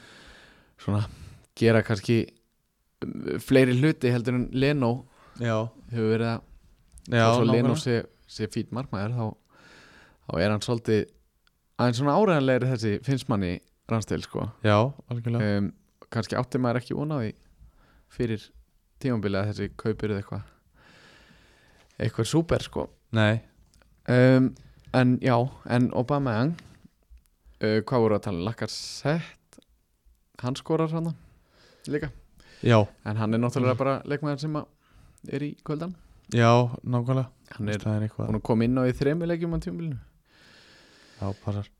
svona gera kannski um, fleiri hluti heldur en Leno
já,
hefur verið að
já
og svo Leno
nákvæmlega.
sé, sé fýt markmaður þá, þá er hann svolítið aðeins svona áræðanlegri þessi finnst manni rannstil sko
Já, algjörlega
um, kannski átti maður ekki vona því fyrir tímabilið að þessi kaupir eða eitthvað eitthvað súper sko
Nei,
um, en já, en Obama Young uh, hvað voru að tala, um? Lacazette hann skorar hann líka,
já,
en hann er náttúrulega bara leikmaður sem að er í kvöldan
já, nákvæmlega
hann er
Það er eitthvað,
búin að koma inn á í þremi leikjum á tímabilinu
já, passar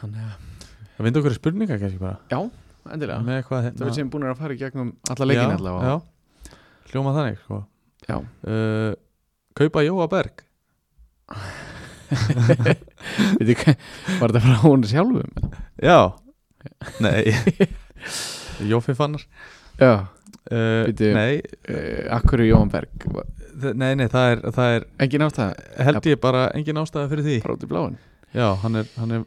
þannig að,
Það vindu okkur í spurninga kannski bara
endilega
Með eitthvað
það
hérna
við séum búin að fara í gegnum alla leikin
Já,
allavega
Já, hljóma þannig, sko
Já.
uh, Kaupa Jóa Berg
Veitu hvað- var þetta frá hún sjálfum eða?
Já Nei Jófi fannar
já,
uh,
Bíddu.
nei,
uh, akkur í Jóhann Berg
þ- nei, nei, það er, það er
Engin ástæða,
held ég bara engin ástæða fyrir því
bara út í bláin
Já, hann er, hann er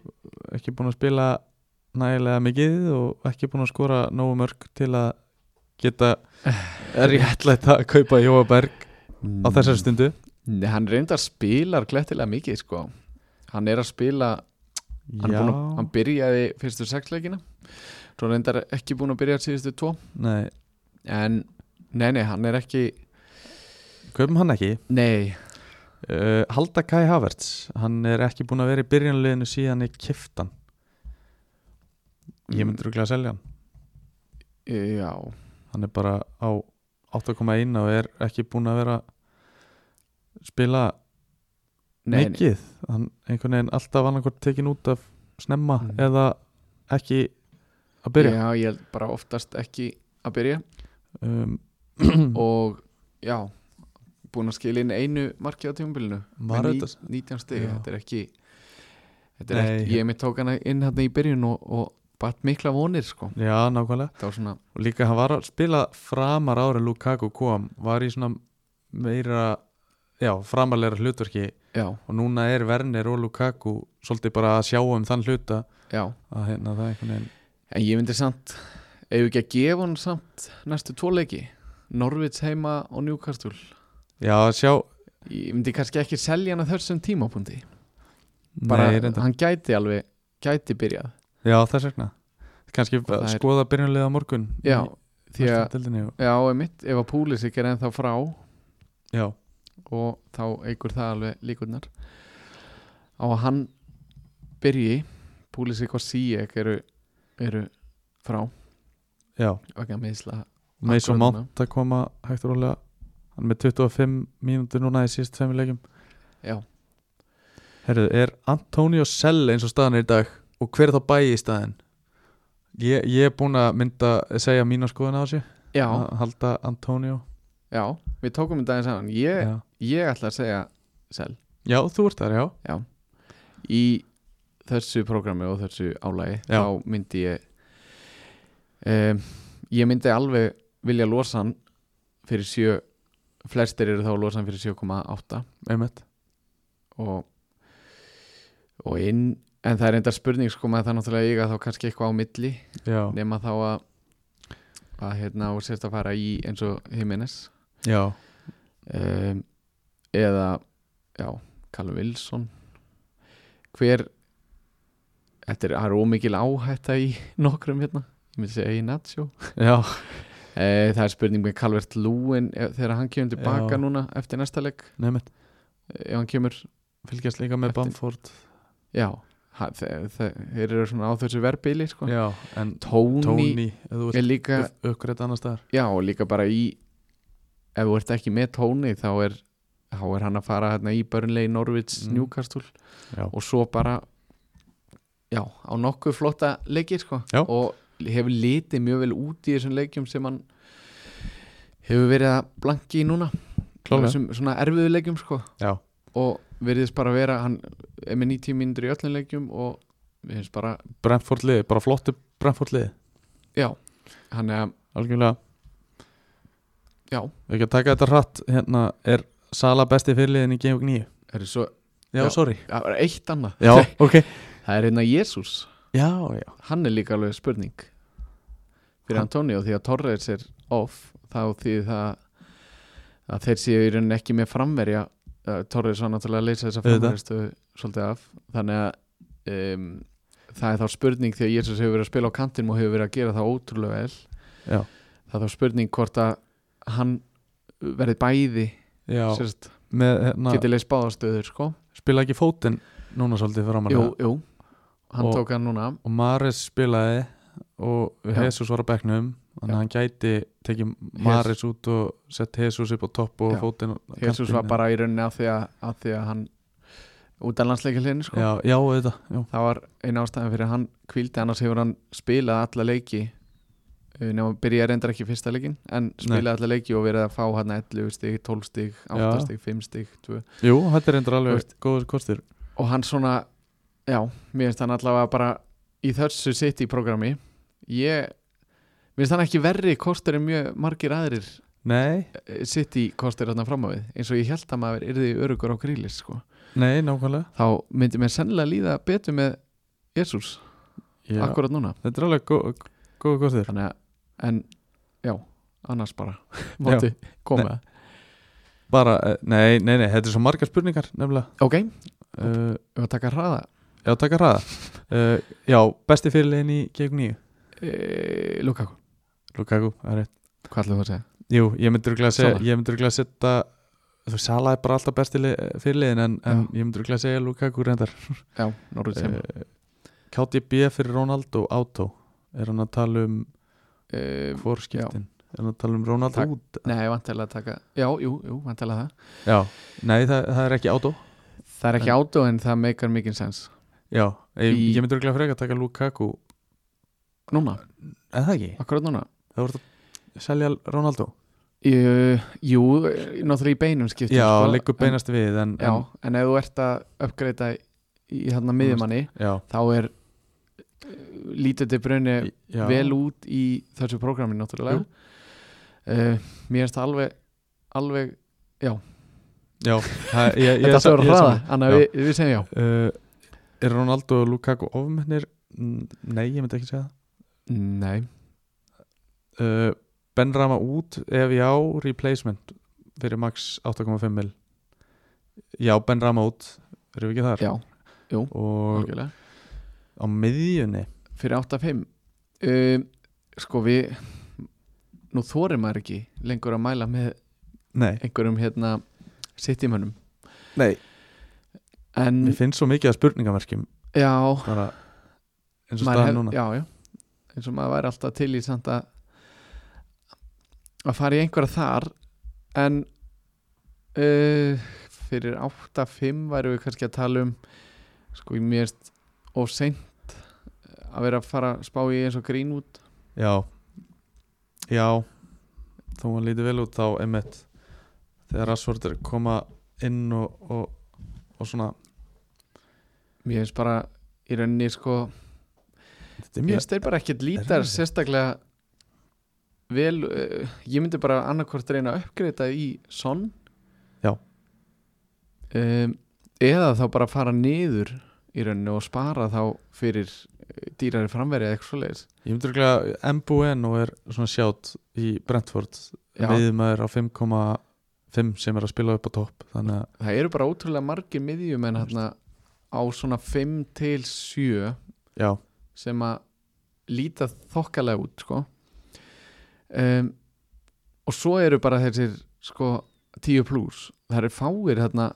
ekki búin að spila nægilega mikið og ekki búin að skora nógu mörg til að geta réttlætt að kaupa Jóa Berg á þessari stundu
Mm, Nei, hann reyndar spilar glettilega mikið sko Hann er að spila Hann, er
Já,
búinn að, hann byrjaði fyrstu sexleikina Svo reyndar ekki búin að byrja síðustu tvo
nei,
En, nei, nei, hann er ekki
kaupum hann ekki
Nei,
uh, Halda Kai Havertz, hann er ekki búin að vera í byrjanleginu síðan í kiftan
Mm.
Ég myndi rúklega að selja hann
e, já
Hann er bara á 8,1 og er ekki búin að vera spila
nei, nei.
mikið hann einhvern veginn alltaf annarkvort tekin út af snemma
Mm.
eða ekki að byrja
Já, ég held bara oftast ekki að byrja
um,
Og, já Búin að skila inn einu marki á tímabilinu
var
Með ní-
þetta
19 stig,
Já.
þetta er ekki Þetta er
Nei.
ekki, ég mitt tók hana inn hérna í byrjun og, og bætt mikla vonir sko
já, nákvæmlega,
Það var svona,
og líka hann var að spila framar ára Lukaku kom var í svona meira já, framarleira hlutverki
já,
og núna er Werner og Lukaku svolítið bara að sjá um þann hluta
já
að hérna það er einhvern veginn
En ég myndi samt, ef við ekki að gefa hann samt næstu tvo leiki Norvits heima og Newcastle
já, að sjá,
Ég myndi kannski ekki selja hann að þessum tímapunkti Bara,
bara, nei, reyndar
hann gæti alveg, gæti byrjað
já, þess vegna kannski
það er-
skoða byrjunlega morgun
Já,
í,
því að,
deildinni og,
já, emitt, ef að Púlisik er ennþá frá
já,
og þá eigur það alveg líkurnar á að hann byrji Púlisik og Sijek eru, eru frá
já
vegna meðsla
með svo
Akkurat núna.
mánt að koma hægt og rólega hann er með 25 mínútur núna í síðust tveimur leikjum
Já.
Herðu, er Antonio Sell eins og staðan er í dag og hver er þá bæi í staðin? Ég, ég er búin að mynda segja mína skoðun á þessu
Já,
að halda Antonio
já, við tókum þetta aðeins saman ég,
já.
ég ætla að segja sel
já, þú ert þar, já
í þessu prógrami og þessu álagi
Já.
þá myndi ég um, ég myndi alveg vilja losa hann fyrir 7 flestir eru þá að losa hann fyrir 7,8
einmitt
og, og inn en það er enda spurning sko maður það náttúrulega eiga þá kannski eitthvað á milli
já,
nema þá að að hérna og sérst að fara í eins og Jimenez
já,
um, eða já, Callum Wilson hver þetta er, það er ómikil áhætta í nokkrum hérna, ég myndi segja í Nacho
já,
e, það er spurning með Calvert Lúin þegar hann kemur tilbaka
Já.
núna eftir næsta leik
einmitt
eh, ef hann kemur,
fylgjast líka með
Eftir-
Bamford sko.
já ha- þe- þe- þeir eru svona á þessu verbili sko.
já, en
Tony,
Tony ef þú
er
ert
líka
uppgreitt annars staðar
já, og líka bara í ef þú ert ekki með Tony þá er, þá er hann að fara hérna í Burnley, Norwich,
Mm.
Newcastle
já,
og svo bara já, á nokkuð flotta leikir sko.
Já.
og hefur litið mjög vel út í þessum leikjum sem hann hefur verið að blanki í núna
Klárlega.
þessum svona erfiðu leikjum sko.
já,
og veriðist bara að vera hann er með 90 mínútur í öllum leikjum og við finnst bara,
Brentford liði, bara flottu Brentford liði
já hann er að,
algjörlega
Já.
Við ekki að taka þetta hratt hérna er Sala besti fyrirliðin í Game Week 9
er svo,
Já,
Já.
sorry
það er eitt annað
Já, ok
það er hérna Jésús,
Já, já
hann er líka alveg spurning fyrir
Hann-
Antonio því að Torres er off þá því það að þeir séu í rauninni ekki með framverja uh, Torres var náttúrulega að leysa þessa
Auðvitað.
framverjastu svolítið af þannig að um, það er þá spurning því að Jesus hefur verið að spila á kantinum og hefur verið að gera það ótrúlega vel
Já.
það er þá spurning hvort að hann verði bæði
Já,
sérst,
með hérna
getið leys báðastöður sko
spila ekki fótinn núna svolítið framan
jú,
af.
jú, hann
Og-
tók hann núna
og Maris spilaði og
Já.
Jesus var á bekknum þannig
Já.
að hann gæti tekið Maris út og sett Jesus upp á topp og
Já.
fótinn á
Jesus var
kantinn.
bara í rauninni af því að, af því að hann út af landsleikilinu sko
Já, já, auðvitað já.
það var eina ástæðan fyrir að hann kvildi annars hefur hann spilað alla leiki eh, nema byrjaði reyndar ekki fyrsta leikin en spilaði alla leiki og verið að fá hann 11 stig, 12 stig, 8
Já.
stig, 5 stig 2.
Jú, þetta er endur
Þú
alveg góður kostur
og hann svona já, mér finnst hann allavega bara í þessu sitt í programmi ég, mér finnst hann ekki verri kostur en mjög margir aðrir
Nei,
sitt í eh, kostir þarna fram á við eins og ég held að maður yrði örugur á grílis sko.
nei, nákvæmlega
þá myndi mér sennilega líða betur með Jésús akkurat núna
Þetta er alveg góð gó, gó, góð þér
Þannig að, en já, annars bara Máttu koma
Bara, eh, nei, nei, nei, þetta er svo margar spurningar nefnilega
Ok,
uh,
við að taka hraða
Já, taka hraða uh, Já, besti fyrirlegin í gegn nýju
e, Lukaku,
Lukaku, það er rétt
hvað ætlum þú að segja?
Jú, ég myndi örugglega að segja
Salah.
Ég myndi örugglega að setja Þú veist, Sala er bara alltaf besti fyrirlegin en, en ég myndi örugglega að segja Lukaku reyndar
Já, Norrútt sem
uh, KTB fyrir Ronaldo Auto Er hann að tala um
e,
fórskiptin? Er hann að tala um Ronaldo
Takk.
út?
Nei, vantilega að taka Já, jú, jú, vantilega það
Já, nei, það, það er ekki Auto
Það er ekki
En-
átó en það meikar mikið sens
Já, ég,
Í-
ég myndi örugglega frekar að taka Lukaku
Núna,
Er það ekki?
akkurat núna
Það voru að selja Ronaldo
e, Jú, eh, náttúrulega í beinum skiptum
Já,
sko,
liggur
en-
beinast við en,
Já, en ef þú ert að uppgreita í þarna miðjumanni
en, já,
þá er eh, lítið til brunni
já
Eh, vel út í þessu prógrami náttúrulega
Jú.
uh, Mér finnst það alveg, alveg
Já, það, ég, ég,
Þetta
ég-
svo er
ég-
að hraða, þannig að
Já.
við, við segjum já
uh, Er Ronaldo og Lukaku ofmennir? Nei, ég myndi ekki segja
Nei,
það uh, Ben Rama út ef já, replacement fyrir max 8,5 mil Já, Ben Rama út erum við ekki þar
já,
og
algjörlega
á miðjunni
Fyrir 8-5 uh, Sko við Nú þorir maður ekki lengur að mæla með
Nei,
einhverjum hérna sittimönnum
Nei.
En,
mér finnst svo mikið að spurningamerkjum
já
bara eins
Maður
og staðan
hef-
núna
já, já. eins og maður væri alltaf til í samt að að fara í einhverja þar en uh, fyrir 8-5 væri við kannski að tala um sko ég mérst og seint að vera að fara að spá í eins og grín út
Já Já Þó hann líti vel út þá einmitt Þegar Rashford er að koma inn og, og, og svona
mér finnst bara í rauninni sko
Þetta
mér finnst þeir bara ekkert lítar
erfiðir.
sérstaklega vel uh, ég myndi bara annarkvort reyna að uppgreita í sonn
Já.
um, eða þá bara fara niður í rauninu og spara þá fyrir eh, dýrari framverið eða eitthvað svoleiðis
Ég myndi röglega Embu Eno er svona sjátt í Brentford
Já.
miðmaður á 5,5 sem er að spila upp á topp þannig að
það eru bara ótrúlega margir miðjumenn hérna á svona 5 til 7
já,
sem að líta þokkalega út sko. um, og svo eru bara þessir sko 10 plus það eru fáir hérna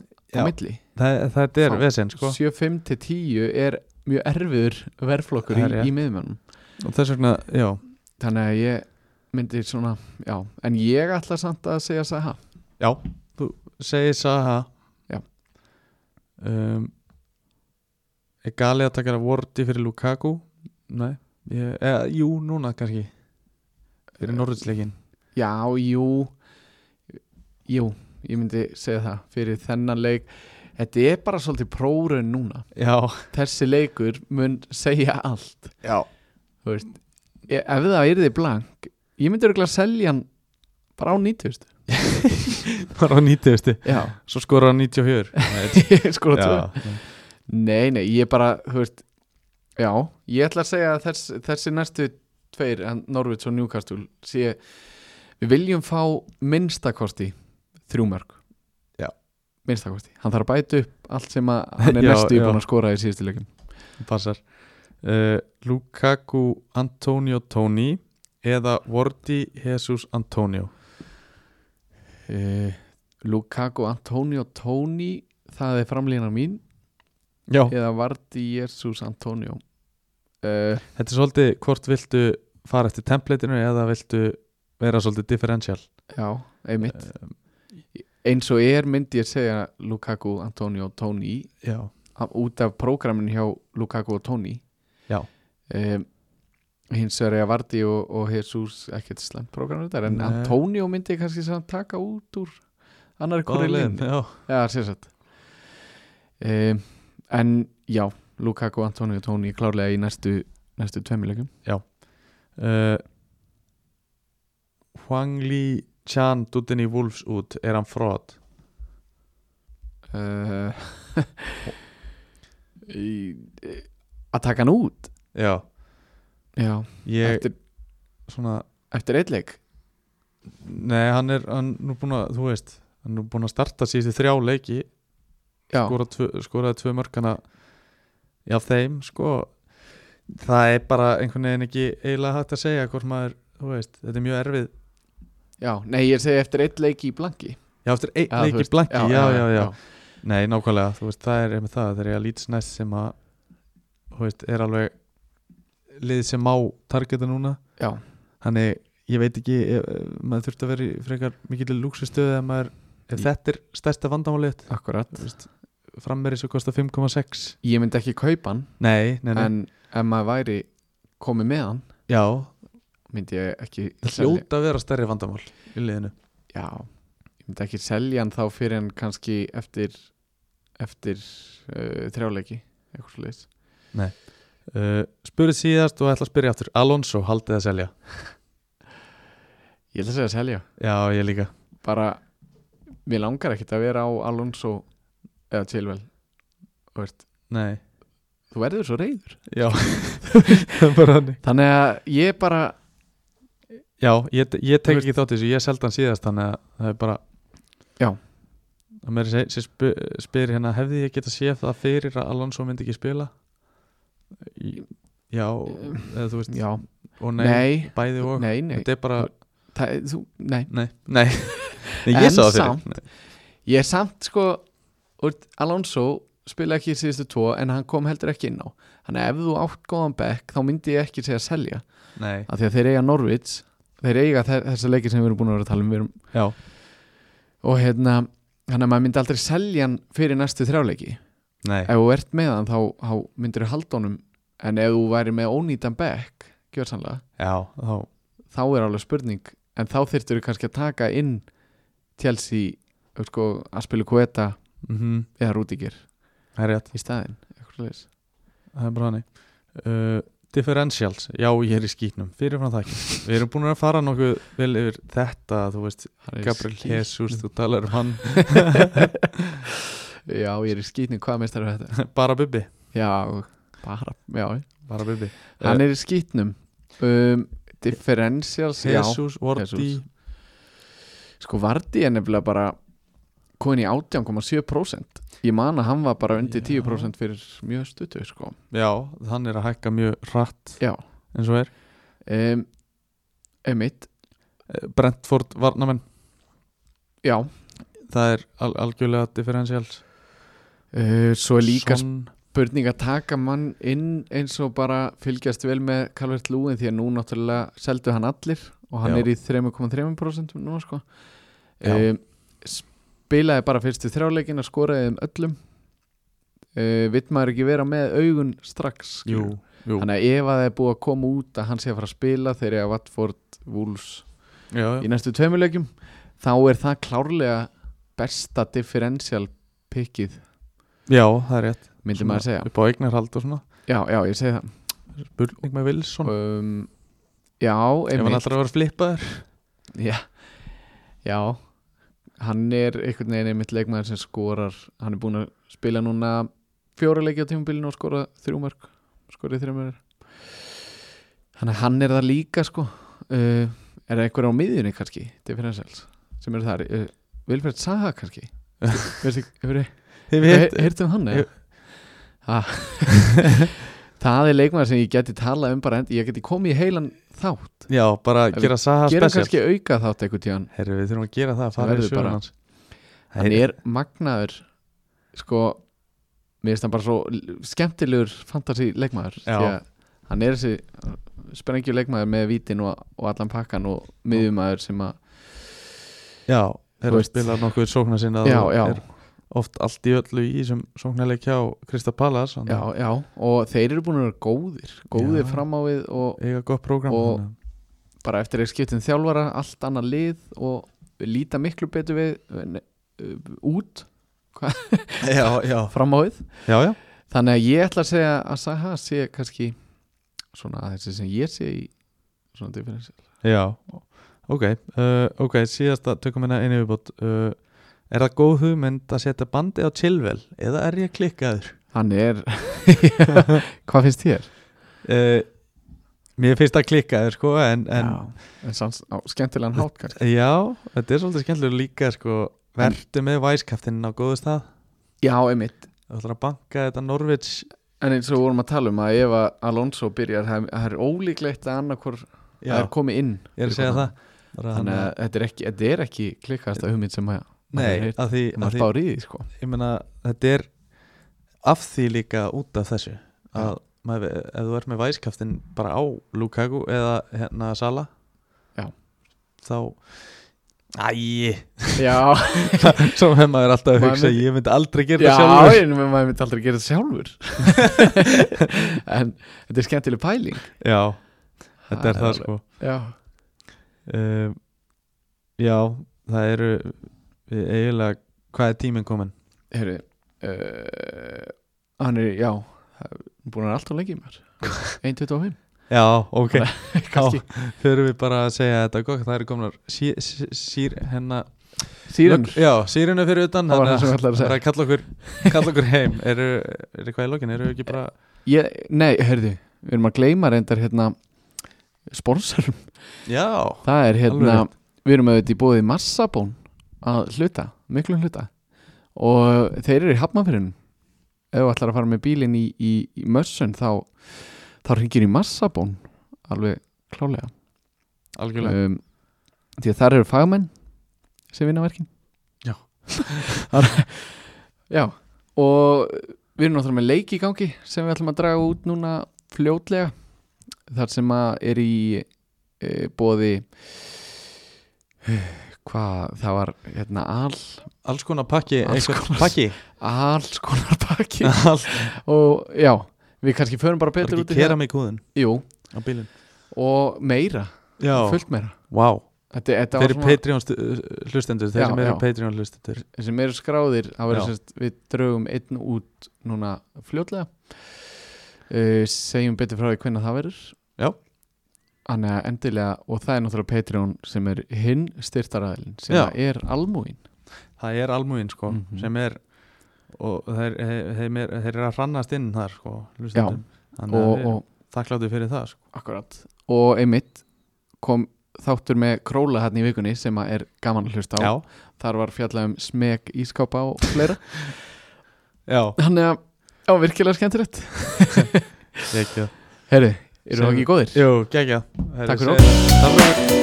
á
Já.
milli
það, þetta er
Þá-
vesinn sko
7-5 til 10 er mjög erfiður verflokkur í,
Það er rétt.
í miðjumennum
og þess vegna, já,
þannig að ég myndi svona, já, en ég ætla samt að segja Saha
já þú segir Saha
Já.
um, Er gali að taka Vorti fyrir Lukaku? Nei, ég, eða, jú, núna kannski fyrir Norröldsleikin
já, jú jú, ég myndi segja það fyrir þennan leik þetta er bara svolítið prórun núna
Já,
þessi leikur mun segja allt
já
þú veist, E- ef það yrði blank ég myndi örgulega selja hann bara á 90
Var á 90
já,
Svo skora á 94 Nei,
ég sko að
já,
Nei, nei, ég bara, þú veist Já, ég ætla að segja að þess, þessi næstu tveir, en Norvits og Newcastle sé, við viljum fá minnstakosti þrjúmörk
Já.
Minnstakosti, hann þarf að bæta upp allt sem að hann er
Já,
næstu
já.
búin að skora í síðustu leikum
Passar uh, Lukaku Antonio Tony eða Vorti Jesus Antonio Eh,
e, Lukaku, Antonio, Tony það er framlýna mín
Já
eða Vardi, Jesus, Antonio e,
Þetta er svolítið hvort viltu fara eftir templatinu eða viltu vera svolítið differential
Já, einmitt Ehm, Eins og er myndi ég segja Lukaku, Antonio, Tony
Já
af- út af prógramin hjá Lukaku og Tony
Já.
um, hins vegar er að Vardi og, og Jesus ekkert slemt prógram þetta en
Nei.
Antonio myndi ég kannski samt taka út úr annar hverju
Góðlegin
liðin
Já
já, sérsett um, en já, Lukaku, Antonio og Tony klárlega í næstu, næstu tveimuleikum
uh, Eh, Huang Li Chan dúttin í Wolves út, er hann fraud?
uh, í, Að taka hann út
Já,
Já,
ég
eftir,
svona
eftir eitt leik
Nei, hann er, hann er nú búin að, þú veist hann er nú búin að starta síðustu þrjá leiki
Já,
skoraði tvö, skoraði tvö mörkana já þeim sko það er bara einhvern veginn ekki eiginlega hægt að segja hvort maður þú veist, þetta er mjög erfið
já, nei ég segi eftir eitt leik í blanki
já eftir einn
Já, þú
leik í
veist,
blanki, já já, já nei nákvæmlega, þú veist, það er einmitt það það er ég að lítið næst sem að þú veist, er alveg lið sem á targeta núna
Já.
þannig, ég veit ekki ef, ef maður þurft að vera í frekar mikill lúksustöðu ef maður, ef
Í-
þetta er stærsta vandamálið,
Akkurat
þú veist frammeri svo kosta 5,6
Ég myndi ekki kaupa hann
nei, nei, nei,
En ef maður væri komið með hann
já
myndi ég ekki
Það
selja-
hljóta að vera stærri vandamál í liðinu
Já, ég myndi ekki selja hann þá fyrir hann kannski eftir eftir uh, þrjáleiki eitthvað svo leis
uh, Spurðið síðast og ætla að spyrja aftur Alonso, haldið að selja?
Ég ætla að segja að selja
Já, ég líka
bara, mér langar ekkit að vera á Alonso eða Chilwell Þú veist,
Nei,
þú verður svo reyður
já Það er bara hannig
Þannig að ég bara
Já, ég, ég
Þú
tek
veist-
ekki þátt í þessu, ég seldi hann síðast þannig að það er bara
Já.
Það meiri seg- sem sp spyr hérna hefði ég geta séð það fyrir að Alonso myndi ekki spila? Í- Já, eða þú veist
Já,
og nei,
nei,
bæði og
nei, nei,
Þetta er bara,
það, þú, nei
nei, nei Nei,
En
ég sá það fyrir
samt- Ég er samt sko úr, Alonso spila ekki í síðustu tvo en hann kom heldur ekki inn á Þannig að ef þú átt góðan bekk þá myndi ég ekki segja selja
Nei,
af því að þeir eiga Norvits þeir eiga þe- þessa leiki sem við erum búin að vera að tala um við erum,
já,
og hérna hann að maður myndi aldrei selja hann fyrir næstu þrjáleiki
nei
ef þú ert með hann þá, þá myndir þú halda honum en ef þú væri með ónýtan bekk gjörsanlega,
Já, þá,
þá er alveg spurning en þá þyrftur þú kannski að taka inn Chelsea, eh, sko, Aspilu Kueta
mhm
eða Rúdíkir
Það er rétt,
í staðinn eitthvað svoleiðis.
það er bara hannig uh, Differentials, já ég er í skýtnum Fyrirfram það ekki, við erum búin að fara nokkuð vel yfir þetta, þú veist
Hann er í
Gabriel
skít-
Jesus, þú talar um hann
Já, ég er í skýtni, hvað meistar er þetta?
bara bubbi,
Já, bara, Eh. já
bara bubbi
Hann er í skýtnum um, Differentials, já
Jesus, Vorti
Jesus. Sko Vardí er nefnilega bara komin í 18,7% Ég man að hann var bara undir
Já.
10% fyrir mjög stuttu sko.
Já, hann er að hækka mjög hratt
Já
eins og er
um, Emmitt,
Eh, Brentford Varnamenn,
já
það er al algjörlega Differentials
uh, Svo er líka
Son,
spurning að taka mann inn eins og bara fylgjast vel með Calvert Lúin því að nú náttúrulega seldu hann allir og hann
Já.
er í 3,3% núna sko
Já.
um, spilaði bara fyrstu þrjáleikin að skoraði um öllum uh, vill maður ekki vera með augun strax
Jú,
skilur?
jú
þannig að ef að það er búið að koma út að hann sé að fara að spila þegar ég að Watford Wolves
já, já.
í næstu tveimuleikjum þá er það klárlega besta differential pickið
já, það er rétt
myndi maður segja
Upp á eignarhald og svona
já, já, ég segi það
Spurning með Wilson,
um, Já,
ef hann
einmitt
alltaf að vera flippaður
já, já, hann er einhvern veginn einmitt leikmaður sem skorar Hann er búinn að spila núna fjóra leiki á tímabilinu og skora þrjú mörg Skorið þrjú mörg Þannig að hann er það líka sko uh, Er það einhver á miðjunni kannski, differentials Sem eru þar, uh, Vilfred Saha kannski Veistu, hefur
Hefur heyrt-
þið heyrt um hann eða? Ha. Það er leikmaður sem ég geti talað um bara, end- ég geti komið í heilan þátt
Já, bara
Ef
gera Saha
gerum
spesial
kannski auka þátt eitthvað tíðan
Herru, við þurfum að gera það, fara í
verður
sjöður
bara.
hans
hann er magnaður sko, mér finnst hann bara svo l- skemmtilegur fantasi leikmaður
Já.
hann er þessi sprengju leikmaður með vítin og, og allan pakkan og miðjumæður sem að
Já, þeir
Þú
eru að
veist.
spila nokkuð sókna sinna
Já, já.
Er oft allt í öllu í sem sóknarleik hjá Krista Pallas
já, já, og þeir eru búin að vera góðir góðir
Já.
fram á við og
Eiga gott prógram
Og-
þannig að-
bara eftir að skiptum þjálfara allt annað lið og líta miklu betur við ne, út
Já, já
fram á við
Já, já,
Þannig að ég ætla að segja að Saha sé kannski svona þessi sem ég sé í svona differential
já Ok, uh, ok, síðasta tökum hérna einu viðbót uh, Er það góð hugmynd að setja bandið á chillvel eða er ég klikkaður?
Hann er Hvað finnst þér?
Uh, mér finnst það klikkaður sko en, en
já, en sans, á, skemmtilegan hátt kannski
já. þetta er svolítið skemmtilega líka sko Vertu með væskaftin á góðu stað
Já, einmitt
Það ætlar að banka þetta Norvits
En eins og við vorum að tala um að ef að Alonso byrjar, það það er ólíklegt að annarkvor
Já,
er komið inn
ég er að segja það Bara
Þannig að þetta er ekki, þetta er ekki klikkasta hugmynd sem að maður
Nei,
heyrt.
að því, að
maður
því
spár í því sko
ég meina, þetta er af því líka út af þessu að maður, ef þú ert með væskaftin bara á Lukaku eða hérna Sala
Já.
þá Æi,
Já,
svo hef maður alltaf að
Maður
hugsa
myndi-
ég myndi aldrei gera
já,
það sjálfur
en maður myndi aldrei gera þetta sjálfur En þetta er skemmtileg pæling
Já, þetta er
er
það
alveg-
sko
Já,
um, Já, það eru við eiginlega, hvað er tíminn komin?
heyrðu uh, Hann er, já búin að vera allt á lengi mér 1.25
Já, ok
kannski.
Já, förum við bara að segja þetta gott, það eru komnar sí, sí, sír, hennar
Síðan,
Lok- Já, sírinu fyrir utan
Það var
þannig
það sem ég ætlaði að
það
segja.
er að kalla okkur, kalla okkur heim Eru, eru hvað í lokin, eru ekki bara
ég, nei, heyrðu Við erum að gleyma reyndar hérna sponsorum,
Já,
það er hérna
Alveg
við erum auðvitað í bóði massabón að hluta, miklu hluta og þeir eru í hafnafyrinum ef þú ætlar að fara með bílinn í, í, í mössun þá, þá ringir í massabón alveg klálega
algjörlega
um, því að þar eru fagmenn sem vinna verkin
Já.
já og við erum náttúrulega með leik í gangi sem við ætlum að draga út núna fljótlega þar sem að er í e, bóði hvað það var hérna al,
Alls konar pakki,
Alls
einhvern
konar-
pakki
alls konar pakki
Alls
og já, við kannski förum bara
Var
betur út
ekki
í það
kera mig húðin
Jú,
á bílinn
og meira,
Já,
fullt meira
vá,
þetta, þetta var
þeir eru
svona-
Patreon stu- hlustendur Þeir
Já,
sem eru
já.
Patreon hlustendur
sem eru skráðir það verður
Já.
semst, við draugum einn út núna fljótlega uh, segjum betur frá því hvernig það verður
Já.
Þannig að endilega, og það er náttúrulega Patreon sem er hinn styrtaræðilin sem
Já.
er almúin
Það er almúin sko,
Mhm.
sem er og þeir, þeir, þeir, er- þeir eru að hrannast inn þar sko, hlustendum Þannig að
og,
við erum
og,
þakkláttu fyrir það sko.
akkurat, og einmitt kom þáttur með króla hérna í vikunni sem að er gaman að hlusta á
Já,
þar var fjallað um smeg ískápa og fleira
já,
þannig að, já, virkilega skemmtilegt
ekki
Herri, eru
Sem-
það ekki góðir?
Jú, gekkja
Takk fyrir
okkur